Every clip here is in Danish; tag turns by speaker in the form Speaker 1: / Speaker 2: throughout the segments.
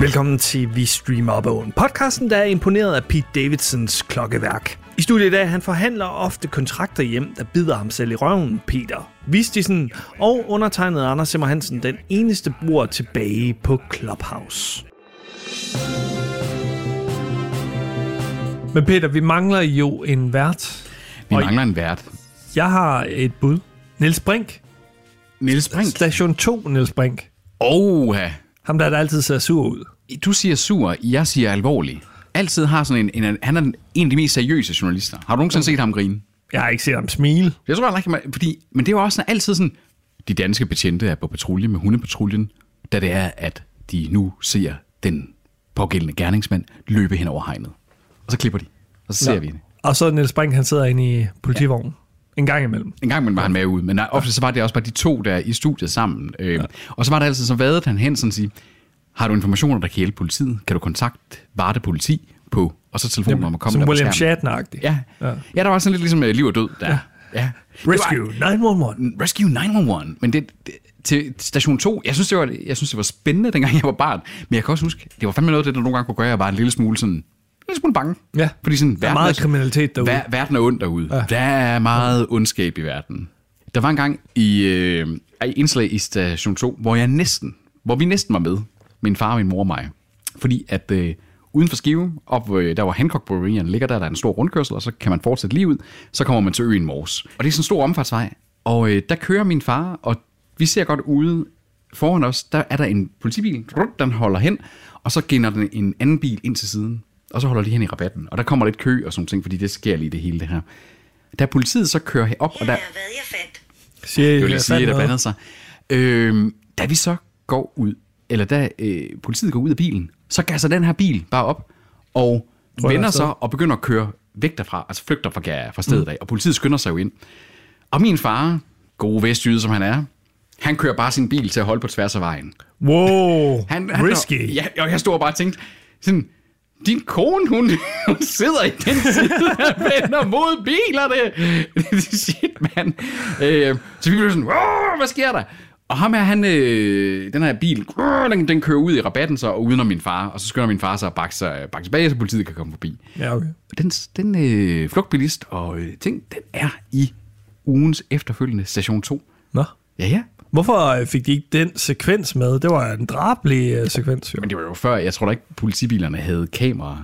Speaker 1: Velkommen til Vi Streamer Bogen, podcasten, der er imponeret af Pete Davidsons klokkeværk. I studiet i dag, han forhandler ofte kontrakter hjem, der bider ham selv i røven, Peter Vistisen og undertegnet Anders Simmer Hansen, den eneste bruger tilbage på Clubhouse.
Speaker 2: Men Peter, vi mangler jo en vært.
Speaker 3: Vi
Speaker 2: Og-
Speaker 3: mangler en vært.
Speaker 2: Jeg har et bud. Niels Brink.
Speaker 3: Niels Brink.
Speaker 2: Station 2, Niels Brink.
Speaker 3: Oha.
Speaker 2: Ham der, der altid ser sur ud.
Speaker 3: Du siger sur, jeg siger alvorlig. Altid har sådan en, en, han er en af de mest seriøse journalister. Har du nogensinde set ham grine?
Speaker 2: Jeg har ikke set ham smile.
Speaker 3: Jeg tror, jeg ikke, man- fordi, men det er jo også sådan, altid sådan, de danske betjente er på patrulje med hundepatruljen, da det er, at de nu ser den pågældende gerningsmand løbe hen over hegnet. Og så klipper de, og så ser vi det.
Speaker 2: Og så Niels Brink, han sidder inde i politivognen. En gang imellem.
Speaker 3: En gang man var han med ud, men nej, ofte så var det også bare de to der i studiet sammen. Øh, Og så var det altid, så vadede han hen sådan og sige, har du informationer, der kan hjælpe politiet? Kan du kontakte Varte Politi på, og så telefonnummer kommer
Speaker 2: Som
Speaker 3: der
Speaker 2: William
Speaker 3: på skærmen.
Speaker 2: shatner -agtig.
Speaker 3: Ja. ja. ja, der var sådan lidt ligesom øh, liv og død der. Ja. ja.
Speaker 2: Rescue 911.
Speaker 3: Det var, Rescue 911, men det, det til station 2, jeg synes, det var, jeg synes, det var spændende, dengang jeg var barn, men jeg kan også huske, det var fandme noget af det, der nogle gange kunne gøre, at jeg var en lille smule sådan, en lille smule bange.
Speaker 2: Ja.
Speaker 3: Fordi sådan,
Speaker 2: Der er meget kriminalitet derude.
Speaker 3: Ver- verden er ond derude. Ja. Der er meget ondskab i verden. Der var en gang i øh, et indslag i Station 2, hvor jeg næsten, hvor vi næsten var med, min far, min mor og mig. Fordi at øh, uden for Skive, op, øh, der var Hancock Brewery'en ligger der, der er en stor rundkørsel, og så kan man fortsætte lige ud, så kommer man til øen Mors. Og det er sådan en stor omfartsvej, og øh, der kører min far, og vi ser godt ude foran os, der er der en politibil, Rup, den holder hen, og så gænder den en anden bil ind til siden, og så holder de hen i rabatten, og der kommer lidt kø og sådan nogle ting, fordi det sker lige det hele det her. Da politiet så kører herop, og
Speaker 4: Her
Speaker 3: der, Øh,
Speaker 4: er, hvad jeg fandt.
Speaker 2: Siger
Speaker 3: jeg vil lige
Speaker 2: jeg
Speaker 3: sige,
Speaker 2: fandt
Speaker 3: at der
Speaker 2: noget.
Speaker 3: blandede sig. Øhm, da vi så går ud, eller da øh, politiet går ud af bilen, så gasser den her bil bare op, og
Speaker 2: Tror jeg,
Speaker 3: vender
Speaker 2: afsted. Mm.
Speaker 3: sig og begynder at køre væk derfra, altså flygter fra, ga- fra stedet af, og politiet skynder sig jo ind. Og min far, god vestjyde som han er, han kører bare sin bil til at holde på tværs af vejen.
Speaker 2: Wow,
Speaker 3: Han,
Speaker 2: han,
Speaker 3: han
Speaker 2: risky.
Speaker 3: Ja, og jeg stod og bare og tænkte, sådan, din kone, hun, hun sidder i den side og vender mod bilerne. Shit, mand. Øh, så vi blev sådan, "Åh, hvad sker der? Og ham her, han, øh, den her bil, "Åh", den, den kører ud i rabatten så, og udenom min far. Og så skynder min far sig at bakke, sig, øh, bakke tilbage, så politiet kan komme forbi.
Speaker 2: ja, okay.
Speaker 3: Den, den øh, flugtbilist og øh, ting, den er i ugens efterfølgende station 2.
Speaker 2: Nå.
Speaker 3: Ja, ja.
Speaker 2: Hvorfor øh, fik de ikke den sekvens med? Det var en drabelig øh, sekvens, jo.
Speaker 3: Men det var jo før, jeg tror da ikke, politibilerne havde kamera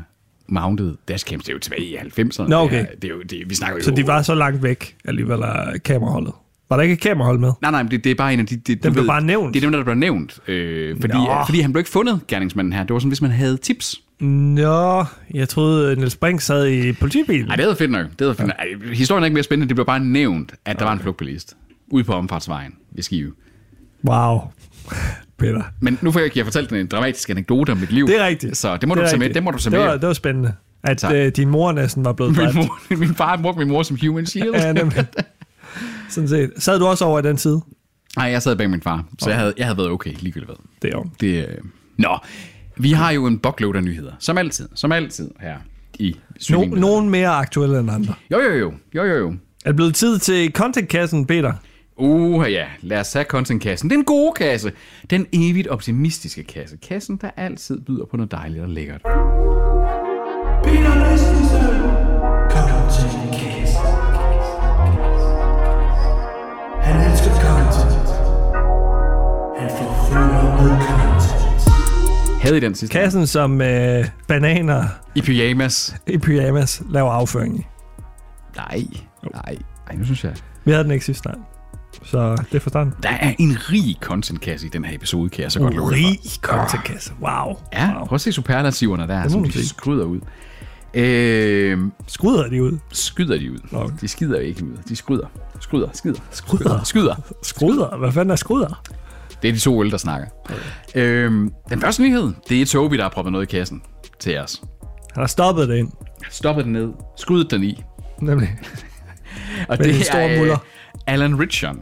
Speaker 3: mounted dashcams. Det er jo tilbage i 90'erne.
Speaker 2: Nå, okay.
Speaker 3: Det, her. det er jo, det, vi snakker jo...
Speaker 2: Så de var så langt væk alligevel af kameraholdet. Var der ikke et kamerahold med?
Speaker 3: Nej, nej, men det, det er bare en af de... Det, du
Speaker 2: Den blev bare nævnt.
Speaker 3: Det er dem, der blev nævnt. Øh, fordi,
Speaker 2: Nå.
Speaker 3: fordi han blev ikke fundet, gerningsmanden her. Det var sådan, hvis man havde tips.
Speaker 2: Nå, jeg troede, øh, Niels Brink sad i politibilen.
Speaker 3: Nej, det havde fedt nok. Det havde fedt nok. Ej, historien er ikke mere spændende. Det blev bare nævnt, at der var en flugtbilist. Ude på omfartsvejen ved Skive.
Speaker 2: Wow, Peter.
Speaker 3: Men nu får jeg ikke jeg fortalt en dramatisk anekdote om mit liv.
Speaker 2: Det er rigtigt.
Speaker 3: Så det må
Speaker 2: er
Speaker 3: du tage med.
Speaker 2: rigtigt.
Speaker 3: Det må du tage
Speaker 2: det
Speaker 3: med.
Speaker 2: Var, det var spændende, at
Speaker 3: Tak.
Speaker 2: øh, din mor næsten var blevet
Speaker 3: min,
Speaker 2: dræbt.
Speaker 3: mor, min far brugte min mor som human shield.
Speaker 2: Ja, nemlig. Sådan set. Sad du også over i den side?
Speaker 3: Nej, jeg sad bag min far, så jeg havde, jeg havde været okay, ligegyldigt hvad.
Speaker 2: Det er jo.
Speaker 3: Det, øh... Nå, vi har jo en buckload af nyheder, som altid, som altid her i
Speaker 2: No,
Speaker 3: streaming.
Speaker 2: nogen mere aktuelle end andre.
Speaker 3: Jo, jo, jo, jo, jo, jo.
Speaker 2: Er det blevet tid til contentkassen, Peter?
Speaker 3: Uh, ja, lad os tage contentkassen. Den gode kasse. Den evigt optimistiske kasse. Kassen, der altid byder på noget dejligt og lækkert.
Speaker 5: Peter Christensen. Kom til en kæs. Han elsker content. Han får fylder med content.
Speaker 3: Havde I den sidste?
Speaker 2: Kassen, som øh, bananer
Speaker 3: I pyjamas.
Speaker 2: i pyjamas laver afføring i.
Speaker 3: Nej, nej. Ej, nu synes jeg...
Speaker 2: Vi havde den ikke sidste gang. Så det er forstanden.
Speaker 3: Der er en rig contentkasse i den her episode, kan jeg så godt love jer for.
Speaker 2: Rig contentkasse. Wow.
Speaker 3: Ja,
Speaker 2: wow.
Speaker 3: prøv at se superlativerne der, som
Speaker 2: man
Speaker 3: de
Speaker 2: sige.
Speaker 3: skryder ud. Øh,
Speaker 2: Skruder de ud?
Speaker 3: skyder de ud.
Speaker 2: Okay.
Speaker 3: De skider jo ikke ud. De skryder. Skryder, skider.
Speaker 2: Skryder?
Speaker 3: Skyder.
Speaker 2: Skruder? Hvad fanden er skruder?
Speaker 3: Det er de to øl, der snakker. Øhm, den første nyhed, det er Tobi, der har proppet noget i kassen til os.
Speaker 2: Han har stoppet det ind,
Speaker 3: Stoppet den ned, skudt den i.
Speaker 2: nemlig.
Speaker 3: Og
Speaker 2: Med en stor
Speaker 3: øh,
Speaker 2: muller.
Speaker 3: Alan Richardson.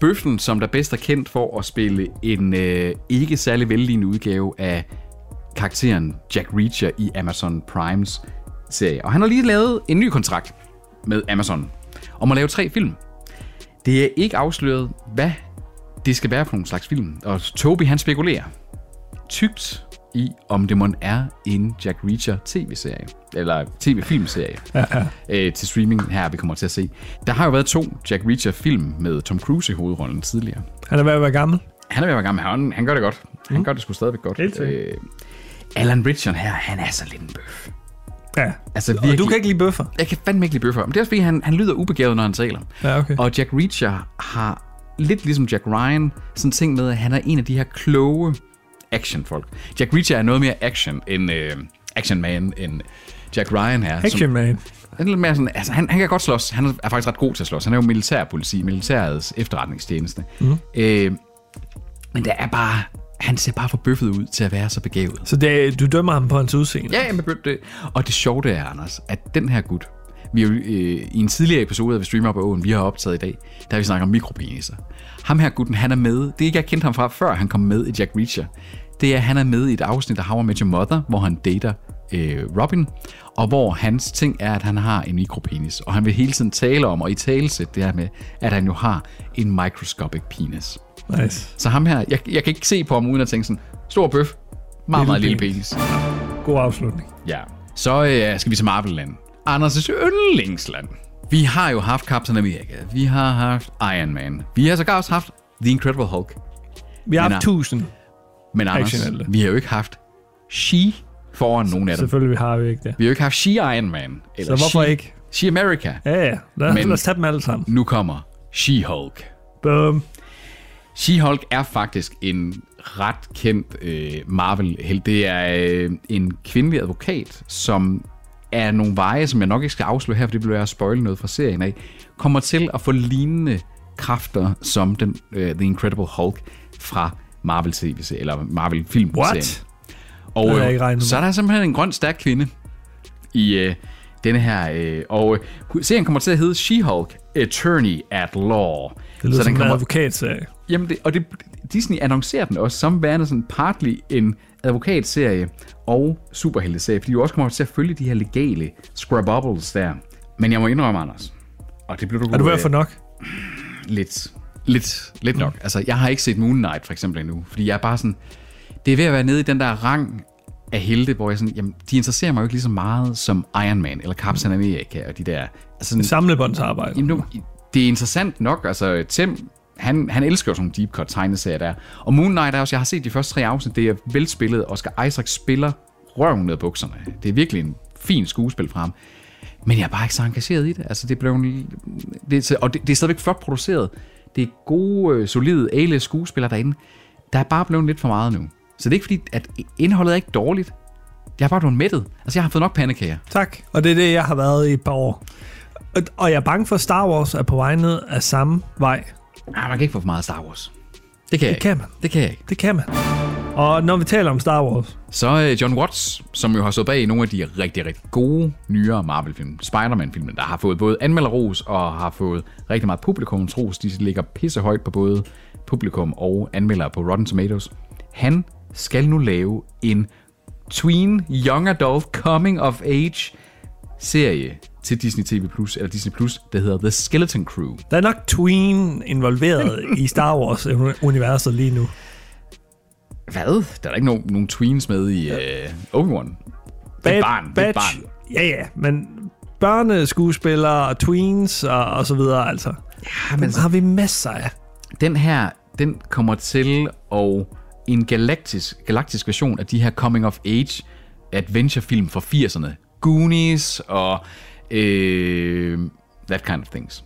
Speaker 3: Bøffen, som der bedst er kendt for at spille en øh, ikke særlig velligende udgave af karakteren Jack Reacher i Amazon Primes serie. Og han har lige lavet en ny kontrakt med Amazon om at lave tre film. Det er ikke afsløret, hvad det skal være for nogle slags film. Og Toby han spekulerer tygt i, om det måtte er en Jack Reacher tv-serie, eller tv-filmserie, øh, til streaming her, vi kommer til at se. Der har jo været to Jack Reacher-film med Tom Cruise i hovedrollen tidligere.
Speaker 2: Han er ved at være gammel.
Speaker 3: Han er ved at være gammel, han, han gør det godt. Han gør det sgu stadigvæk godt.
Speaker 2: Mm. Helt sikkert.
Speaker 3: Øh, Alan Richard her, han er så lidt en bøf.
Speaker 2: Ja.
Speaker 3: Altså,
Speaker 2: Og
Speaker 3: virkelig,
Speaker 2: du kan ikke lide bøffer.
Speaker 3: jeg kan fandme ikke lide bøffer, men det er også fordi, han, han lyder ubegavet, når han taler.
Speaker 2: Ja, okay.
Speaker 3: Og Jack Reacher har lidt ligesom Jack Ryan, sådan en ting med, at han er en af de her kloge actionfolk. Jack Reacher er noget mere action end øh, action man, end Jack Ryan er.
Speaker 2: Action man.
Speaker 3: Som, han, er lidt mere sådan, altså, han, han kan godt slås. Han er faktisk ret god til at slås. Han er jo militærpoliti, militærets efterretningstjeneste.
Speaker 2: Mhm.
Speaker 3: Mm. Øh, men der er bare... Han ser bare for bøffet ud til at være så begavet.
Speaker 2: Så det, er- du dømmer ham på hans udseende?
Speaker 3: Ja, jamen, det- det. Og det sjove det er, Anders, at den her gut, vi har jo, øh, i en tidligere episode af Vi Streamer på Åen, vi har optaget i dag, der har vi snakket om mikropeniser. Ham her gutten, han er med. Det er ikke, jeg kendte ham fra, før han kom med i Jack Reacher. Det er, at han er med i et afsnit af How I Met Your Mother, hvor han dater øh, Robin, og hvor hans ting er, at han har en mikropenis, og han vil hele tiden tale om og i talesæt det her med, at han jo har en microscopic penis.
Speaker 2: Nice.
Speaker 3: Så ham her, jeg, jeg kan ikke se på ham uden at tænke sådan, stor bøf, meget, meget lille penis.
Speaker 2: God afslutning.
Speaker 3: Ja. Så øh, skal vi til Marvel-land. Anders' yndlingsland. Vi har jo haft Captain America. Vi har haft Iron Man. Vi har sågar også haft The Incredible Hulk.
Speaker 2: Vi har
Speaker 3: Men
Speaker 2: haft
Speaker 3: nej.
Speaker 2: 1000.
Speaker 3: Men Anders,
Speaker 2: Actionhelte.
Speaker 3: vi har jo ikke haft She foran nogen af dem.
Speaker 2: Selvfølgelig har vi ikke det.
Speaker 3: Vi har jo ikke haft She Iron Man. Eller
Speaker 2: Så hvorfor
Speaker 3: She,
Speaker 2: ikke?
Speaker 3: She America.
Speaker 2: Ja, ja. Lad,
Speaker 3: Men-
Speaker 2: lad os tage dem alle sammen.
Speaker 3: Nu kommer She-Hulk.
Speaker 2: Bum.
Speaker 3: She-Hulk er faktisk en ret kendt øh, Marvel-held. Det er øh, en kvindelig advokat, som er nogle veje, som jeg nok ikke skal afsløre her, for det bliver jeg spoil noget fra serien af, kommer til at få lignende kræfter som den, øh, The Incredible Hulk fra Marvel tv eller Marvel film
Speaker 2: What?
Speaker 3: Og
Speaker 2: havde jeg
Speaker 3: øh,
Speaker 2: ikke regnet med.
Speaker 3: så er der simpelthen en grøn stærk kvinde i øh, denne her, øh, og øh, serien kommer til at hedde She-Hulk Attorney at Law.
Speaker 2: Det lyder så som en advokatserie.
Speaker 3: Jamen, det, og det, Disney annoncerer den også som værende sådan partly en advokatserie og superhelteserie, fordi du også kommer til at følge de her legale scrabbles der. Men jeg må indrømme, Anders, og det blev du,
Speaker 2: Er du ved
Speaker 3: øh,
Speaker 2: at få nok?
Speaker 3: lidt, lidt, lidt nok. Altså, jeg har ikke set Moon Knight for eksempel endnu, fordi jeg er bare sådan, det er ved at være nede i den der rang af helte, hvor jeg sådan, jamen, de interesserer mig jo ikke lige så meget som Iron Man eller Captain America og de der. Altså sådan,
Speaker 2: Samlebåndsarbejde.
Speaker 3: Jamen, nu, det er interessant nok. Altså, Tim, han, han elsker jo sådan nogle deep cut tegneserier der. Og Moon Knight er også, jeg har set de første tre afsnit, det er velspillet. Oscar Isaac spiller røven ned af bukserne. Det er virkelig en fin skuespil fra ham. Men jeg er bare ikke så engageret i det. Altså, det blev en, det, er så- og det, det, er stadigvæk flot produceret. Det er gode, øh, solide, a skuespillere derinde. Der er bare blevet lidt for meget nu. Så det er ikke fordi, at indholdet er ikke dårligt. Jeg har bare blevet mættet. Altså, jeg har fået nok pandekager.
Speaker 2: Tak. Og det er det, jeg har været i et par år. Og, og jeg er bange for, at Star Wars er på vej ned af samme vej.
Speaker 3: Nej, Ah, man kan ikke få for meget Star Wars. Det kan jeg
Speaker 2: Det kan
Speaker 3: ikke.
Speaker 2: man.
Speaker 3: Det kan jeg ikke.
Speaker 2: Det kan man. Og når vi taler om Star Wars,
Speaker 3: Så øh, John Watts, som jo har stået bag nogle af de rigtig, rigtig gode, nyere Marvel-film. Spider-Man-filmen, der har fået både anmelderros og har fået rigtig meget publikums ros. De ligger pissehøjt på både publikum og anmeldere på Rotten Tomatoes. Han skal nu lave en tween young adult coming of age serie til Disney TV+, Plus eller Disney+, Plus, der hedder The Skeleton Crew.
Speaker 2: der er nok tween involveret i Star Wars-universet lige nu.
Speaker 3: Hvad? Der er da ikke nogen, nogen tweens med i øh, Obi-Wan. Det er et barn. Det er et barn.
Speaker 2: Ja, ja, men børneskuespillere og tweens og, og så videre, altså. Ja, men har vi masser af.
Speaker 3: den her, den kommer til at en galaktisk, galaktisk version af de her coming of age adventure-film fra 80'erne. Goonies og øh, that kind of things.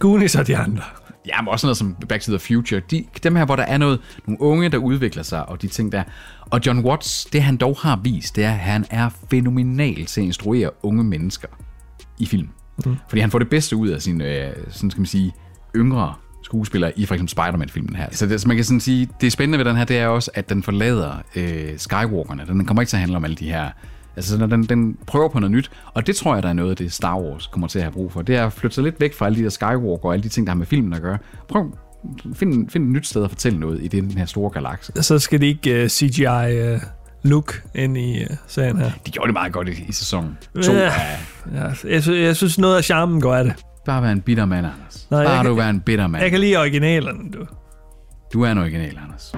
Speaker 2: Goonies og de andre.
Speaker 3: Ja, men også noget som Back to the Future. De, dem her, hvor der er noget, nogle unge, der udvikler sig, og de ting der. Og John Watts, det han dog har vist, det er, at han er fænomenal til at instruere unge mennesker i film.
Speaker 2: Mhm.
Speaker 3: Mm. Fordi han får det bedste ud af sine, øh, sådan skal man sige, yngre skuespillere i for eksempel Spider-Man-filmen her. Så, det, så man kan sådan sige, det spændende ved den her, det er også, at den forlader øh, Skywalkerne. Den kommer ikke til at handle om alle de her... Altså, den, den, den prøver på noget nyt, og det tror jeg, der er noget af det, Star Wars kommer til at have brug for. Det er at flytte sig lidt væk fra alle de der Skywalker og alle de ting, der har med filmen at gøre. Prøv find, find et nyt sted at fortælle noget i den her store galakse.
Speaker 2: Så skal de ikke uh, CGI uh, look ind i uh, serien her.
Speaker 3: De gjorde det meget godt i, i sæson 2.
Speaker 2: Ja.
Speaker 3: Ja.
Speaker 2: Ja, jeg, sy- jeg synes, noget af charmen går af det.
Speaker 3: Bare være en bitter mand, Anders.
Speaker 2: Nej, jeg
Speaker 3: Bare
Speaker 2: kan-
Speaker 3: du være en bitter
Speaker 2: Jeg
Speaker 3: mand.
Speaker 2: kan lide originalerne, du.
Speaker 3: Du er en original, Anders.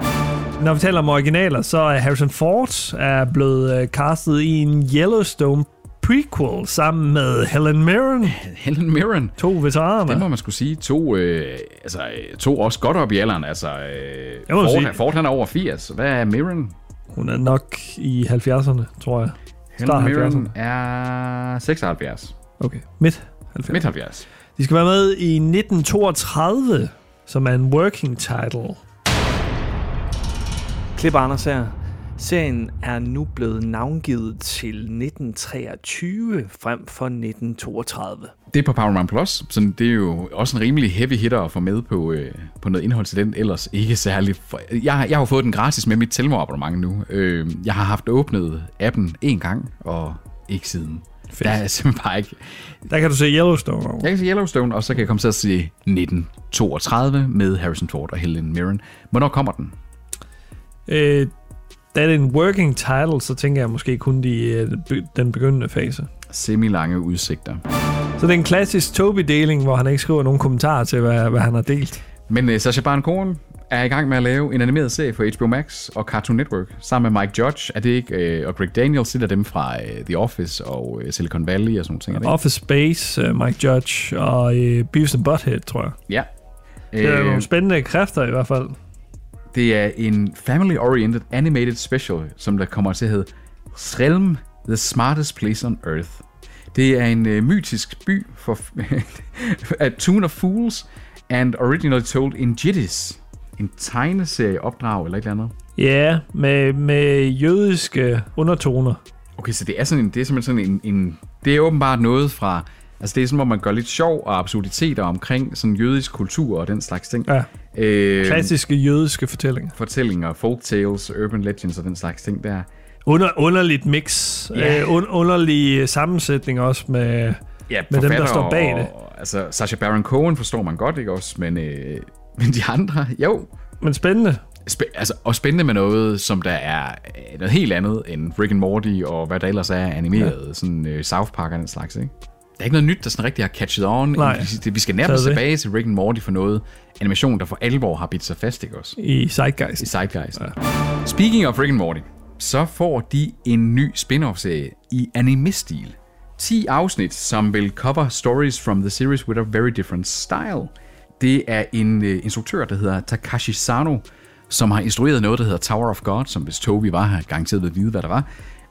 Speaker 2: Når vi taler om originaler, så er Harrison Ford er blevet øh, castet i en Yellowstone prequel sammen med Helen Mirren,
Speaker 3: Helen Mirren.
Speaker 2: to veteraner.
Speaker 3: Det må man skulle sige. To, øh, altså, øh, to også godt op i alderen. Altså, øh,
Speaker 2: må
Speaker 3: Ford,
Speaker 2: sige.
Speaker 3: Ford, han er over 80. Hvad er Mirren?
Speaker 2: Hun er nok i 70'erne, tror jeg. Start
Speaker 3: Helen Mirren
Speaker 2: 70'erne.
Speaker 3: er 76.
Speaker 2: Okay, midt 70'erne.
Speaker 3: Midt 70.
Speaker 2: De skal være med i 1932, som er en working title.
Speaker 1: Klip Anders her. Serien er nu blevet navngivet til 1923 frem for 1932.
Speaker 3: Det er på Paramount Plus, så det er jo også en rimelig heavy hitter at få med på, øh, på noget indhold til den, ellers ikke særlig. For, jeg, har- jeg har jo fået den gratis med mit Telmor abonnement nu. Øh, jeg har haft åbnet appen en gang, og ikke siden. Der er simpelthen bare ikke...
Speaker 2: Der kan du se Yellowstone over.
Speaker 3: Jeg kan se Yellowstone, og så kan jeg komme til at se 1932 med Harrison Ford og Helen Mirren. Hvornår kommer den?
Speaker 2: Øh, da det er en working title, så tænker jeg måske kun de, øh, be- den begyndende fase.
Speaker 3: Semi-lange udsigter.
Speaker 2: Så det er en klassisk Toby-deling, hvor han ikke skriver nogen kommentarer til, hvad, hvad han har delt.
Speaker 3: Men uh, Sacha Baron Cohen er i gang med at lave en animeret serie for HBO Max og Cartoon Network sammen med Mike Judge, er det ikke? Uh, og Greg Daniels, det er dem fra uh, The Office og uh, Silicon Valley og sådan nogle ting. Er det ikke?
Speaker 2: Office Space, øh, Mike Judge og øh, Beavis and Butthead, tror jeg.
Speaker 3: Ja.
Speaker 2: Det er
Speaker 3: Øh,
Speaker 2: nogle spændende kræfter i hvert fald.
Speaker 3: det er en family-oriented animated special, som der kommer til at hedde Srelm, the smartest place on earth. Det er en øh, mytisk by for a tune of fools and originally told in jiddies. En tegneserie opdrag eller et eller andet.
Speaker 2: Ja, med, med jødiske undertoner.
Speaker 3: Okay, så det er, sådan en, det er simpelthen sådan en, en... Det er åbenbart noget fra... Altså det er sådan, hvor man gør lidt sjov og absurditeter omkring sådan jødisk kultur og den slags ting.
Speaker 2: Ja,
Speaker 3: Øh,
Speaker 2: klassiske jødiske fortællinger.
Speaker 3: fortællinger, folk tales, urban legends og den slags ting der.
Speaker 2: Under, underligt mix.
Speaker 3: Ja.
Speaker 2: Yeah. Øh, un, underlig øh, sammensætning også med...
Speaker 3: Ja,
Speaker 2: Men dem, der
Speaker 3: forfattere
Speaker 2: står bag
Speaker 3: og, Altså, Sacha Baron Cohen forstår man godt, ikke også? Men, øh, men de andre, jo.
Speaker 2: Men spændende.
Speaker 3: Spæ- altså, og spændende med noget, som der er øh, noget helt andet end Rick and Morty og hvad der ellers er animeret, ja. sådan øh, South Park og den slags, ikke? Der er ikke noget nyt, der sådan rigtig har catchet on.
Speaker 2: Nej.
Speaker 3: Vi- Vi skal nærmest
Speaker 2: Så er det.
Speaker 3: tilbage til Rick and Morty for noget animation, der for alvor har bidt sig fast, ikke også?
Speaker 2: i Zeitgeist.
Speaker 3: i Zeitgeist. Ja. Speaking of Rick and Morty, så får de en ny spin-off-serie i anime-stil. 10 afsnit, som vil cover stories from the series with a very different style. Det er en øh, instruktør, der hedder Takashi Sano, som har instrueret noget, der hedder Tower of God, som hvis Toby var her, garanteret ville vide, hvad der var.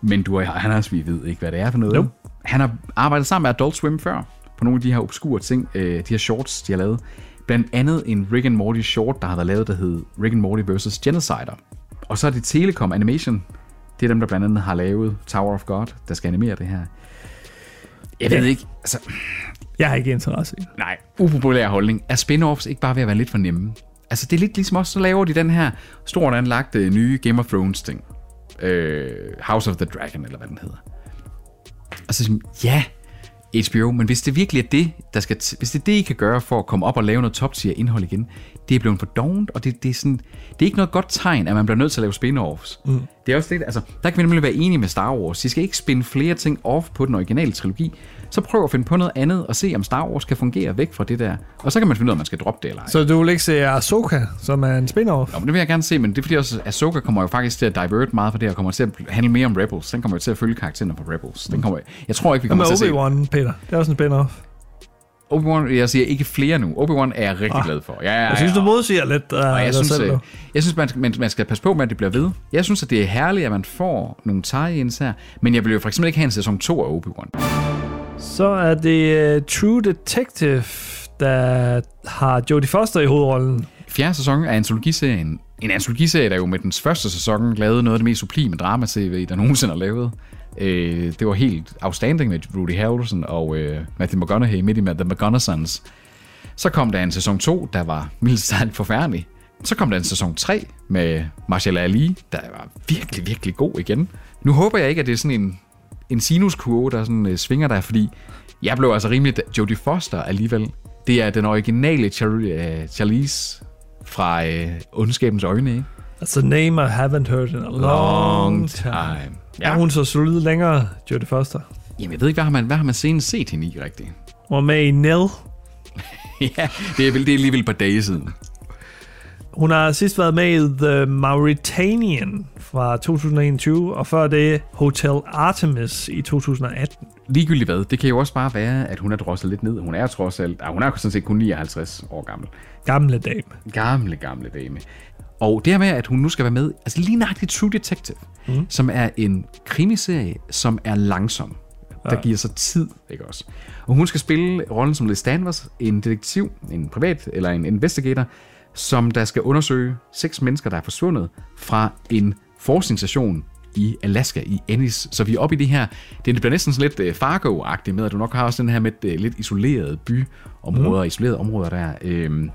Speaker 3: Men du og jeg, Anders, vi ved ikke, hvad det er for noget.
Speaker 2: Nope.
Speaker 3: Han har arbejdet sammen med Adult Swim før, på nogle af de her obskure ting, øh, de her shorts, de har lavet. Blandt andet en Rick and Morty short, der har været lavet, der hed Rick and Morty vs. Genocider. Og så er det Telecom Animation. Det er dem, der blandt andet har lavet Tower of God, der skal animere det her. Jeg ved ikke, altså,
Speaker 2: Jeg har ikke interesse i det.
Speaker 3: nej, upopulær holdning. Er spin-offs ikke bare ved at være lidt for nemme? Altså, det er lidt ligesom også, så laver de den her stort anlagte nye Game of Thrones ting. Øh, House of the Dragon, eller hvad den hedder. Og så sådan, ja, HBO, men hvis det virkelig er det, der skal t- hvis det er det, I kan gøre for at komme op og lave noget top tier indhold igen, det er blevet for dovent, og det, det, er sådan, det er ikke noget godt tegn, at man bliver nødt til at lave spin-offs. Mm. Det er også det, altså, der kan vi nemlig være enige med Star Wars. I skal ikke spinde flere ting off på den originale trilogi, så prøv at finde på noget andet og se, om Star Wars kan fungere væk fra det der. Og så kan man finde ud af, om man skal droppe det eller ej.
Speaker 2: Så du vil ikke se Ahsoka, som er en spin-off?
Speaker 3: Nå, men det vil jeg gerne se, men det er fordi også, Ahsoka kommer jo faktisk til at divert meget fra det her, og kommer til at handle mere om Rebels. Den kommer jo til at følge karakteren fra Rebels. Den kommer, jeg tror ikke, vi
Speaker 2: Hvad
Speaker 3: kommer
Speaker 2: med
Speaker 3: til at se...
Speaker 2: Obi-Wan, Peter? Det er også en spin-off.
Speaker 3: Obi-Wan, jeg siger ikke flere nu. Obi-Wan er jeg rigtig glad for. Ja, ja, ja.
Speaker 2: Jeg Ah. synes, du modsiger lidt uh,
Speaker 3: Og
Speaker 2: dig
Speaker 3: jeg, synes, øh,
Speaker 2: selv.
Speaker 3: at,
Speaker 2: nu.
Speaker 3: jeg synes, man, man, man skal passe på med, at det bliver ved. Jeg synes, at det er herligt, at man får nogle tie-ins her, men jeg vil jo for eksempel ikke have en sæson 2 af Obi-Wan.
Speaker 2: Så er det uh, True Detective, der har Jodie Foster i hovedrollen.
Speaker 3: Fjerde sæson af antologiserien. En antologiserie, der jo med dens første sæson lavede noget af det mest sublime drama-tv, der nogensinde har lavet. Øh, det var helt outstanding med Rudy Harrelson og øh, Matthew McConaughey midt i The McConaughtons. Så kom der en sæson 2, der var mildt sagt forfærdelig. Så kom der en sæson 3 med Marshall Ali, der var virkelig, virkelig god igen. Nu håber jeg ikke, at det er sådan en, en sinuskurve, der sådan, øh, svinger der, fordi jeg blev altså rimelig Jodie Foster alligevel. Det er den originale Char- øh, Charlize fra øh, Ondskabens Øjne, ikke?
Speaker 2: Altså, name I haven't heard in a long,
Speaker 3: time.
Speaker 2: Ja. Er
Speaker 3: Ja.
Speaker 2: hun så solid længere, Jodie Foster?
Speaker 3: Jamen, jeg ved ikke, hvad har man, hvad har man senest set hende i, rigtigt?
Speaker 2: Hun var med i Nell.
Speaker 3: ja, det er, vel, det er alligevel et par dage siden.
Speaker 2: Hun har sidst været med i The Mauritanian fra 2021, og før det Hotel Artemis i 2018.
Speaker 3: Ligegyldigt hvad, det kan jo også bare være, at hun er drosset lidt ned. Hun er trods alt, ah, hun er jo sådan set kun 59 år gammel.
Speaker 2: Gamle dame.
Speaker 3: Gamle, gamle dame. Og det her med, at hun nu skal være med, altså lige nøjagtigt True Detective, mm. som er en krimiserie, som er langsom. Der giver sig tid, ikke også? Og hun skal spille rollen som Liz Danvers, en detektiv, en privat eller en investigator, som der skal undersøge seks mennesker, der er forsvundet fra en forskningsstation i Alaska, i Ennis. Så vi er oppe i det her, det bliver næsten sådan lidt øh, Fargo-agtigt med, at du nok har også den her med øh, lidt isolerede byområder, mm. isolerede områder der. Øhm,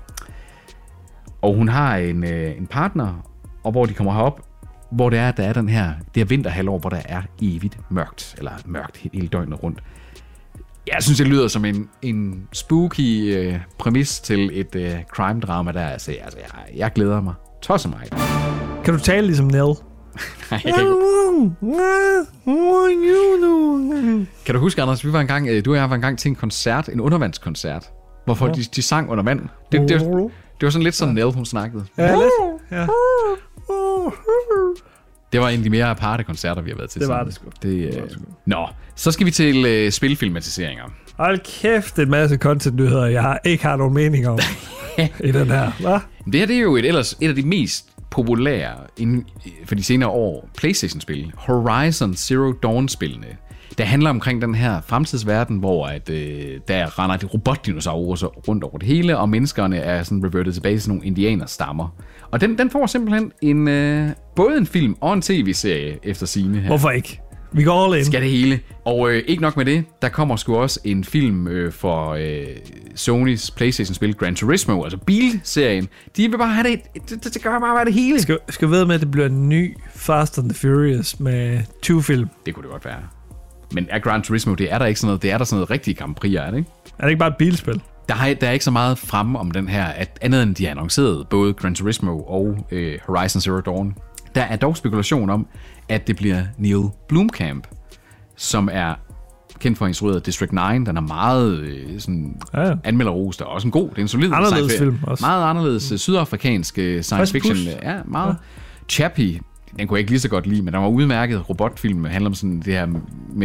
Speaker 3: og hun har en, øh, en partner, og hvor de kommer herop, hvor det er, at der er den her, det her vinterhalvår, hvor der er evigt mørkt, eller mørkt he- hele døgnet rundt. Jeg synes, det lyder som en, en spooky øh, præmis til et øh, crime-drama, der altså, altså jeg, jeg glæder mig. Tosser mig.
Speaker 2: Kan du tale ligesom Nell?
Speaker 3: Nej, jeg kan ikke. Kan du huske, Anders, vi var engang, øh, du og jeg var engang til en koncert, en undervandskoncert, hvorfor de, de sang under vand. Det, det, var, det var sådan lidt sådan Nell, hun snakkede.
Speaker 2: Ja, lidt. Ja.
Speaker 3: Det var en af de mere aparte koncerter, vi har været til.
Speaker 2: Det var
Speaker 3: sammen.
Speaker 2: det sgu.
Speaker 3: Det, øh, Nå, så skal vi til øh, spilfilmatiseringer.
Speaker 2: Hold kæft, en masse content-nyheder, jeg har- ikke har nogen mening om i den her. Hva?
Speaker 3: Det her det er jo et, ellers et af de mest populære inden, for de senere år PlayStation-spil, Horizon Zero Dawn-spillene, der handler omkring den her fremtidsverden, hvor at, øh, der render de robotdinosaurer så rundt over det hele, og menneskerne er sådan revertet tilbage til sådan nogle indianerstammer. Og den, den får simpelthen en, øh, både en film og en tv-serie efter sine her.
Speaker 2: Hvorfor ikke? Vi går all in.
Speaker 3: Skal det hele. Og øh, ikke nok med det, der kommer sgu også en film øh, for øh, Sonys Playstation-spil Gran Turismo, altså bilserien. De vil bare have det, det, det, det gør bare være det hele.
Speaker 2: Skal, skal vi ved med, at det bliver en ny Fast and the Furious med 20 film?
Speaker 3: Det kunne det godt være. Men er Gran Turismo, det er der ikke sådan noget, det er der sådan noget rigtige Grand Prix, er det ikke?
Speaker 2: Er det ikke bare et bilspil?
Speaker 3: Der, har, der er ikke så meget fremme om den her, at andet end de har annonceret både Gran Turismo og øh, Horizon Zero Dawn. Der er dog spekulation om, at det bliver Neil Blomkamp, som er kendt for at instruere District 9. Den er meget øh, sådan
Speaker 2: Ja, ja.
Speaker 3: anmelderros, der er også en god. Det er en solid
Speaker 2: Anderledes
Speaker 3: sci-fi.
Speaker 2: film også.
Speaker 3: Meget anderledes øh, sydafrikansk øh, science
Speaker 2: Frisk
Speaker 3: fiction.
Speaker 2: pust.
Speaker 3: Ja, meget. Ja. Chappie, den kunne jeg ikke lige så godt lide, men den var udmærket robotfilm. handler om sådan det her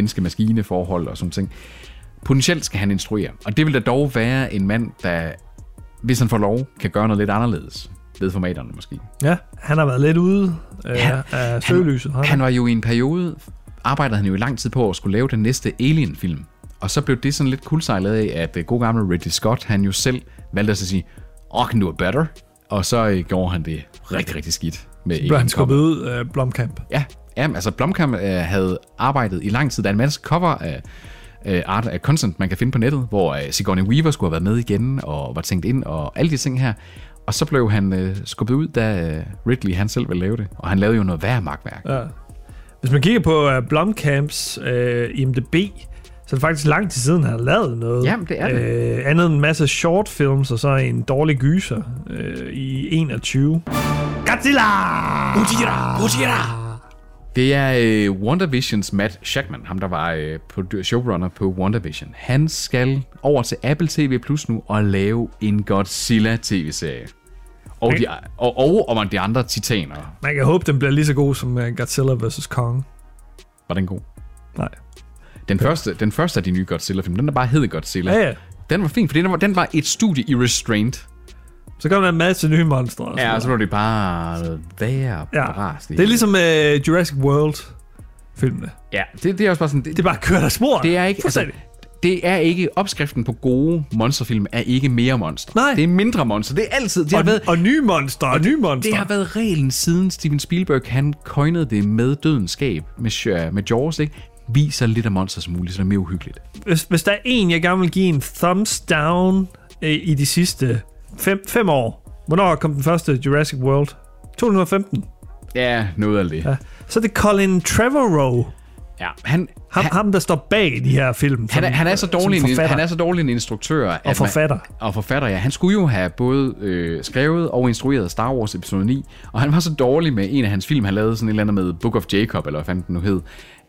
Speaker 3: menneske-maskine-forhold og sådan ting. Potentielt skal han instruere. Og det vil da dog være en mand, der, hvis han får lov, kan gøre noget lidt anderledes ved formaterne måske.
Speaker 2: Ja, han har været lidt ude øh, ja, af søgelyset. har
Speaker 3: Han var jo i en periode, arbejdede han jo i lang tid på at skulle lave den næste Alien-film. Og så blev det sådan lidt kuldsejlet af, at øh, god gamle Ridley Scott, han jo selv valgte at så sige, åh, kan du er better? Og så øh, gjorde han det rigtig, rigtig skidt
Speaker 2: Blev
Speaker 3: med Alien
Speaker 2: han skubbet
Speaker 3: Covenant.
Speaker 2: ud af Blomkamp?
Speaker 3: Ja, ja, altså Blomkamp øh, havde arbejdet i lang tid. Der er en masse cover af øh, Art af Consent, man kan finde på nettet, hvor øh, Sigourney Weaver skulle have været med igen og var tænkt ind og alle de ting her. Og så blev han øh, skubbet ud, da øh, Ridley han selv ville lave det. Og han lavede jo noget værre magtværk. Ja.
Speaker 2: Hvis man kigger på uh, Blomkamps uh, IMDB, så er det faktisk lang tid siden, han har lavet noget.
Speaker 3: Jamen, det er det.
Speaker 2: Uh, andet end en masse short films, og så en dårlig gyser uh, i 21. Godzilla!
Speaker 3: Det er øh, WandaVisions Matt Shackman, ham der var øh, produ- showrunner på WandaVision. Han skal over til Apple TV Plus nu og lave en Godzilla tv-serie. Og, de, og, og, og de andre titaner.
Speaker 2: Man kan håbe, den bliver lige så god som øh, Godzilla vs. Kong.
Speaker 3: Var den god?
Speaker 2: Nej.
Speaker 3: Den, første, den første af de nye Godzilla-film, den der bare hed Godzilla,
Speaker 2: Ja, ja.
Speaker 3: den var fin, for den var, den var et studie i Restraint.
Speaker 2: Så kommer der en masse nye monstre. og sådan
Speaker 3: Ja,
Speaker 2: noget.
Speaker 3: og så blev det bare værre
Speaker 2: ja.
Speaker 3: brast i.
Speaker 2: Det er ligesom uh, Jurassic World-filmene.
Speaker 3: Ja, det, det er også bare sådan... Det,
Speaker 2: Det er bare kørt af spor.
Speaker 3: Det er ikke, altså,
Speaker 2: Fuldstændig.
Speaker 3: det er ikke, opskriften på gode monsterfilm er ikke mere monster.
Speaker 2: Nej.
Speaker 3: Det er mindre monster. Det er altid, det har, været,
Speaker 2: og, og nye monstre, og nye monstre.
Speaker 3: det har været reglen siden Steven Spielberg, han coinede det med dødens skab, med, Sh- med Jaws, ikke? Viser lidt af monster som muligt, så det er mere uhyggeligt.
Speaker 2: hvis, hvis der er en, jeg gerne vil give en thumbs down øh, i de sidste 5 fem år. Hvornår kom den første Jurassic World? 2015.
Speaker 3: Ja, noget af det. Ja.
Speaker 2: Så er det Colin Trevorrow,
Speaker 3: Ja, han,
Speaker 2: Ham,
Speaker 3: han,
Speaker 2: ham, der står bag de her film.
Speaker 3: han, er, han, er så dårlig
Speaker 2: som
Speaker 3: en,
Speaker 2: forfatter.
Speaker 3: han er så dårlig en instruktør. at man-
Speaker 2: forfatter.
Speaker 3: og forfatter, ja. Han skulle jo have både øh, skrevet og instrueret Star Wars episode 9, og han var så dårlig med en af hans film, han lavede sådan et eller andet med Book of Jacob, eller hvad fanden den nu hed,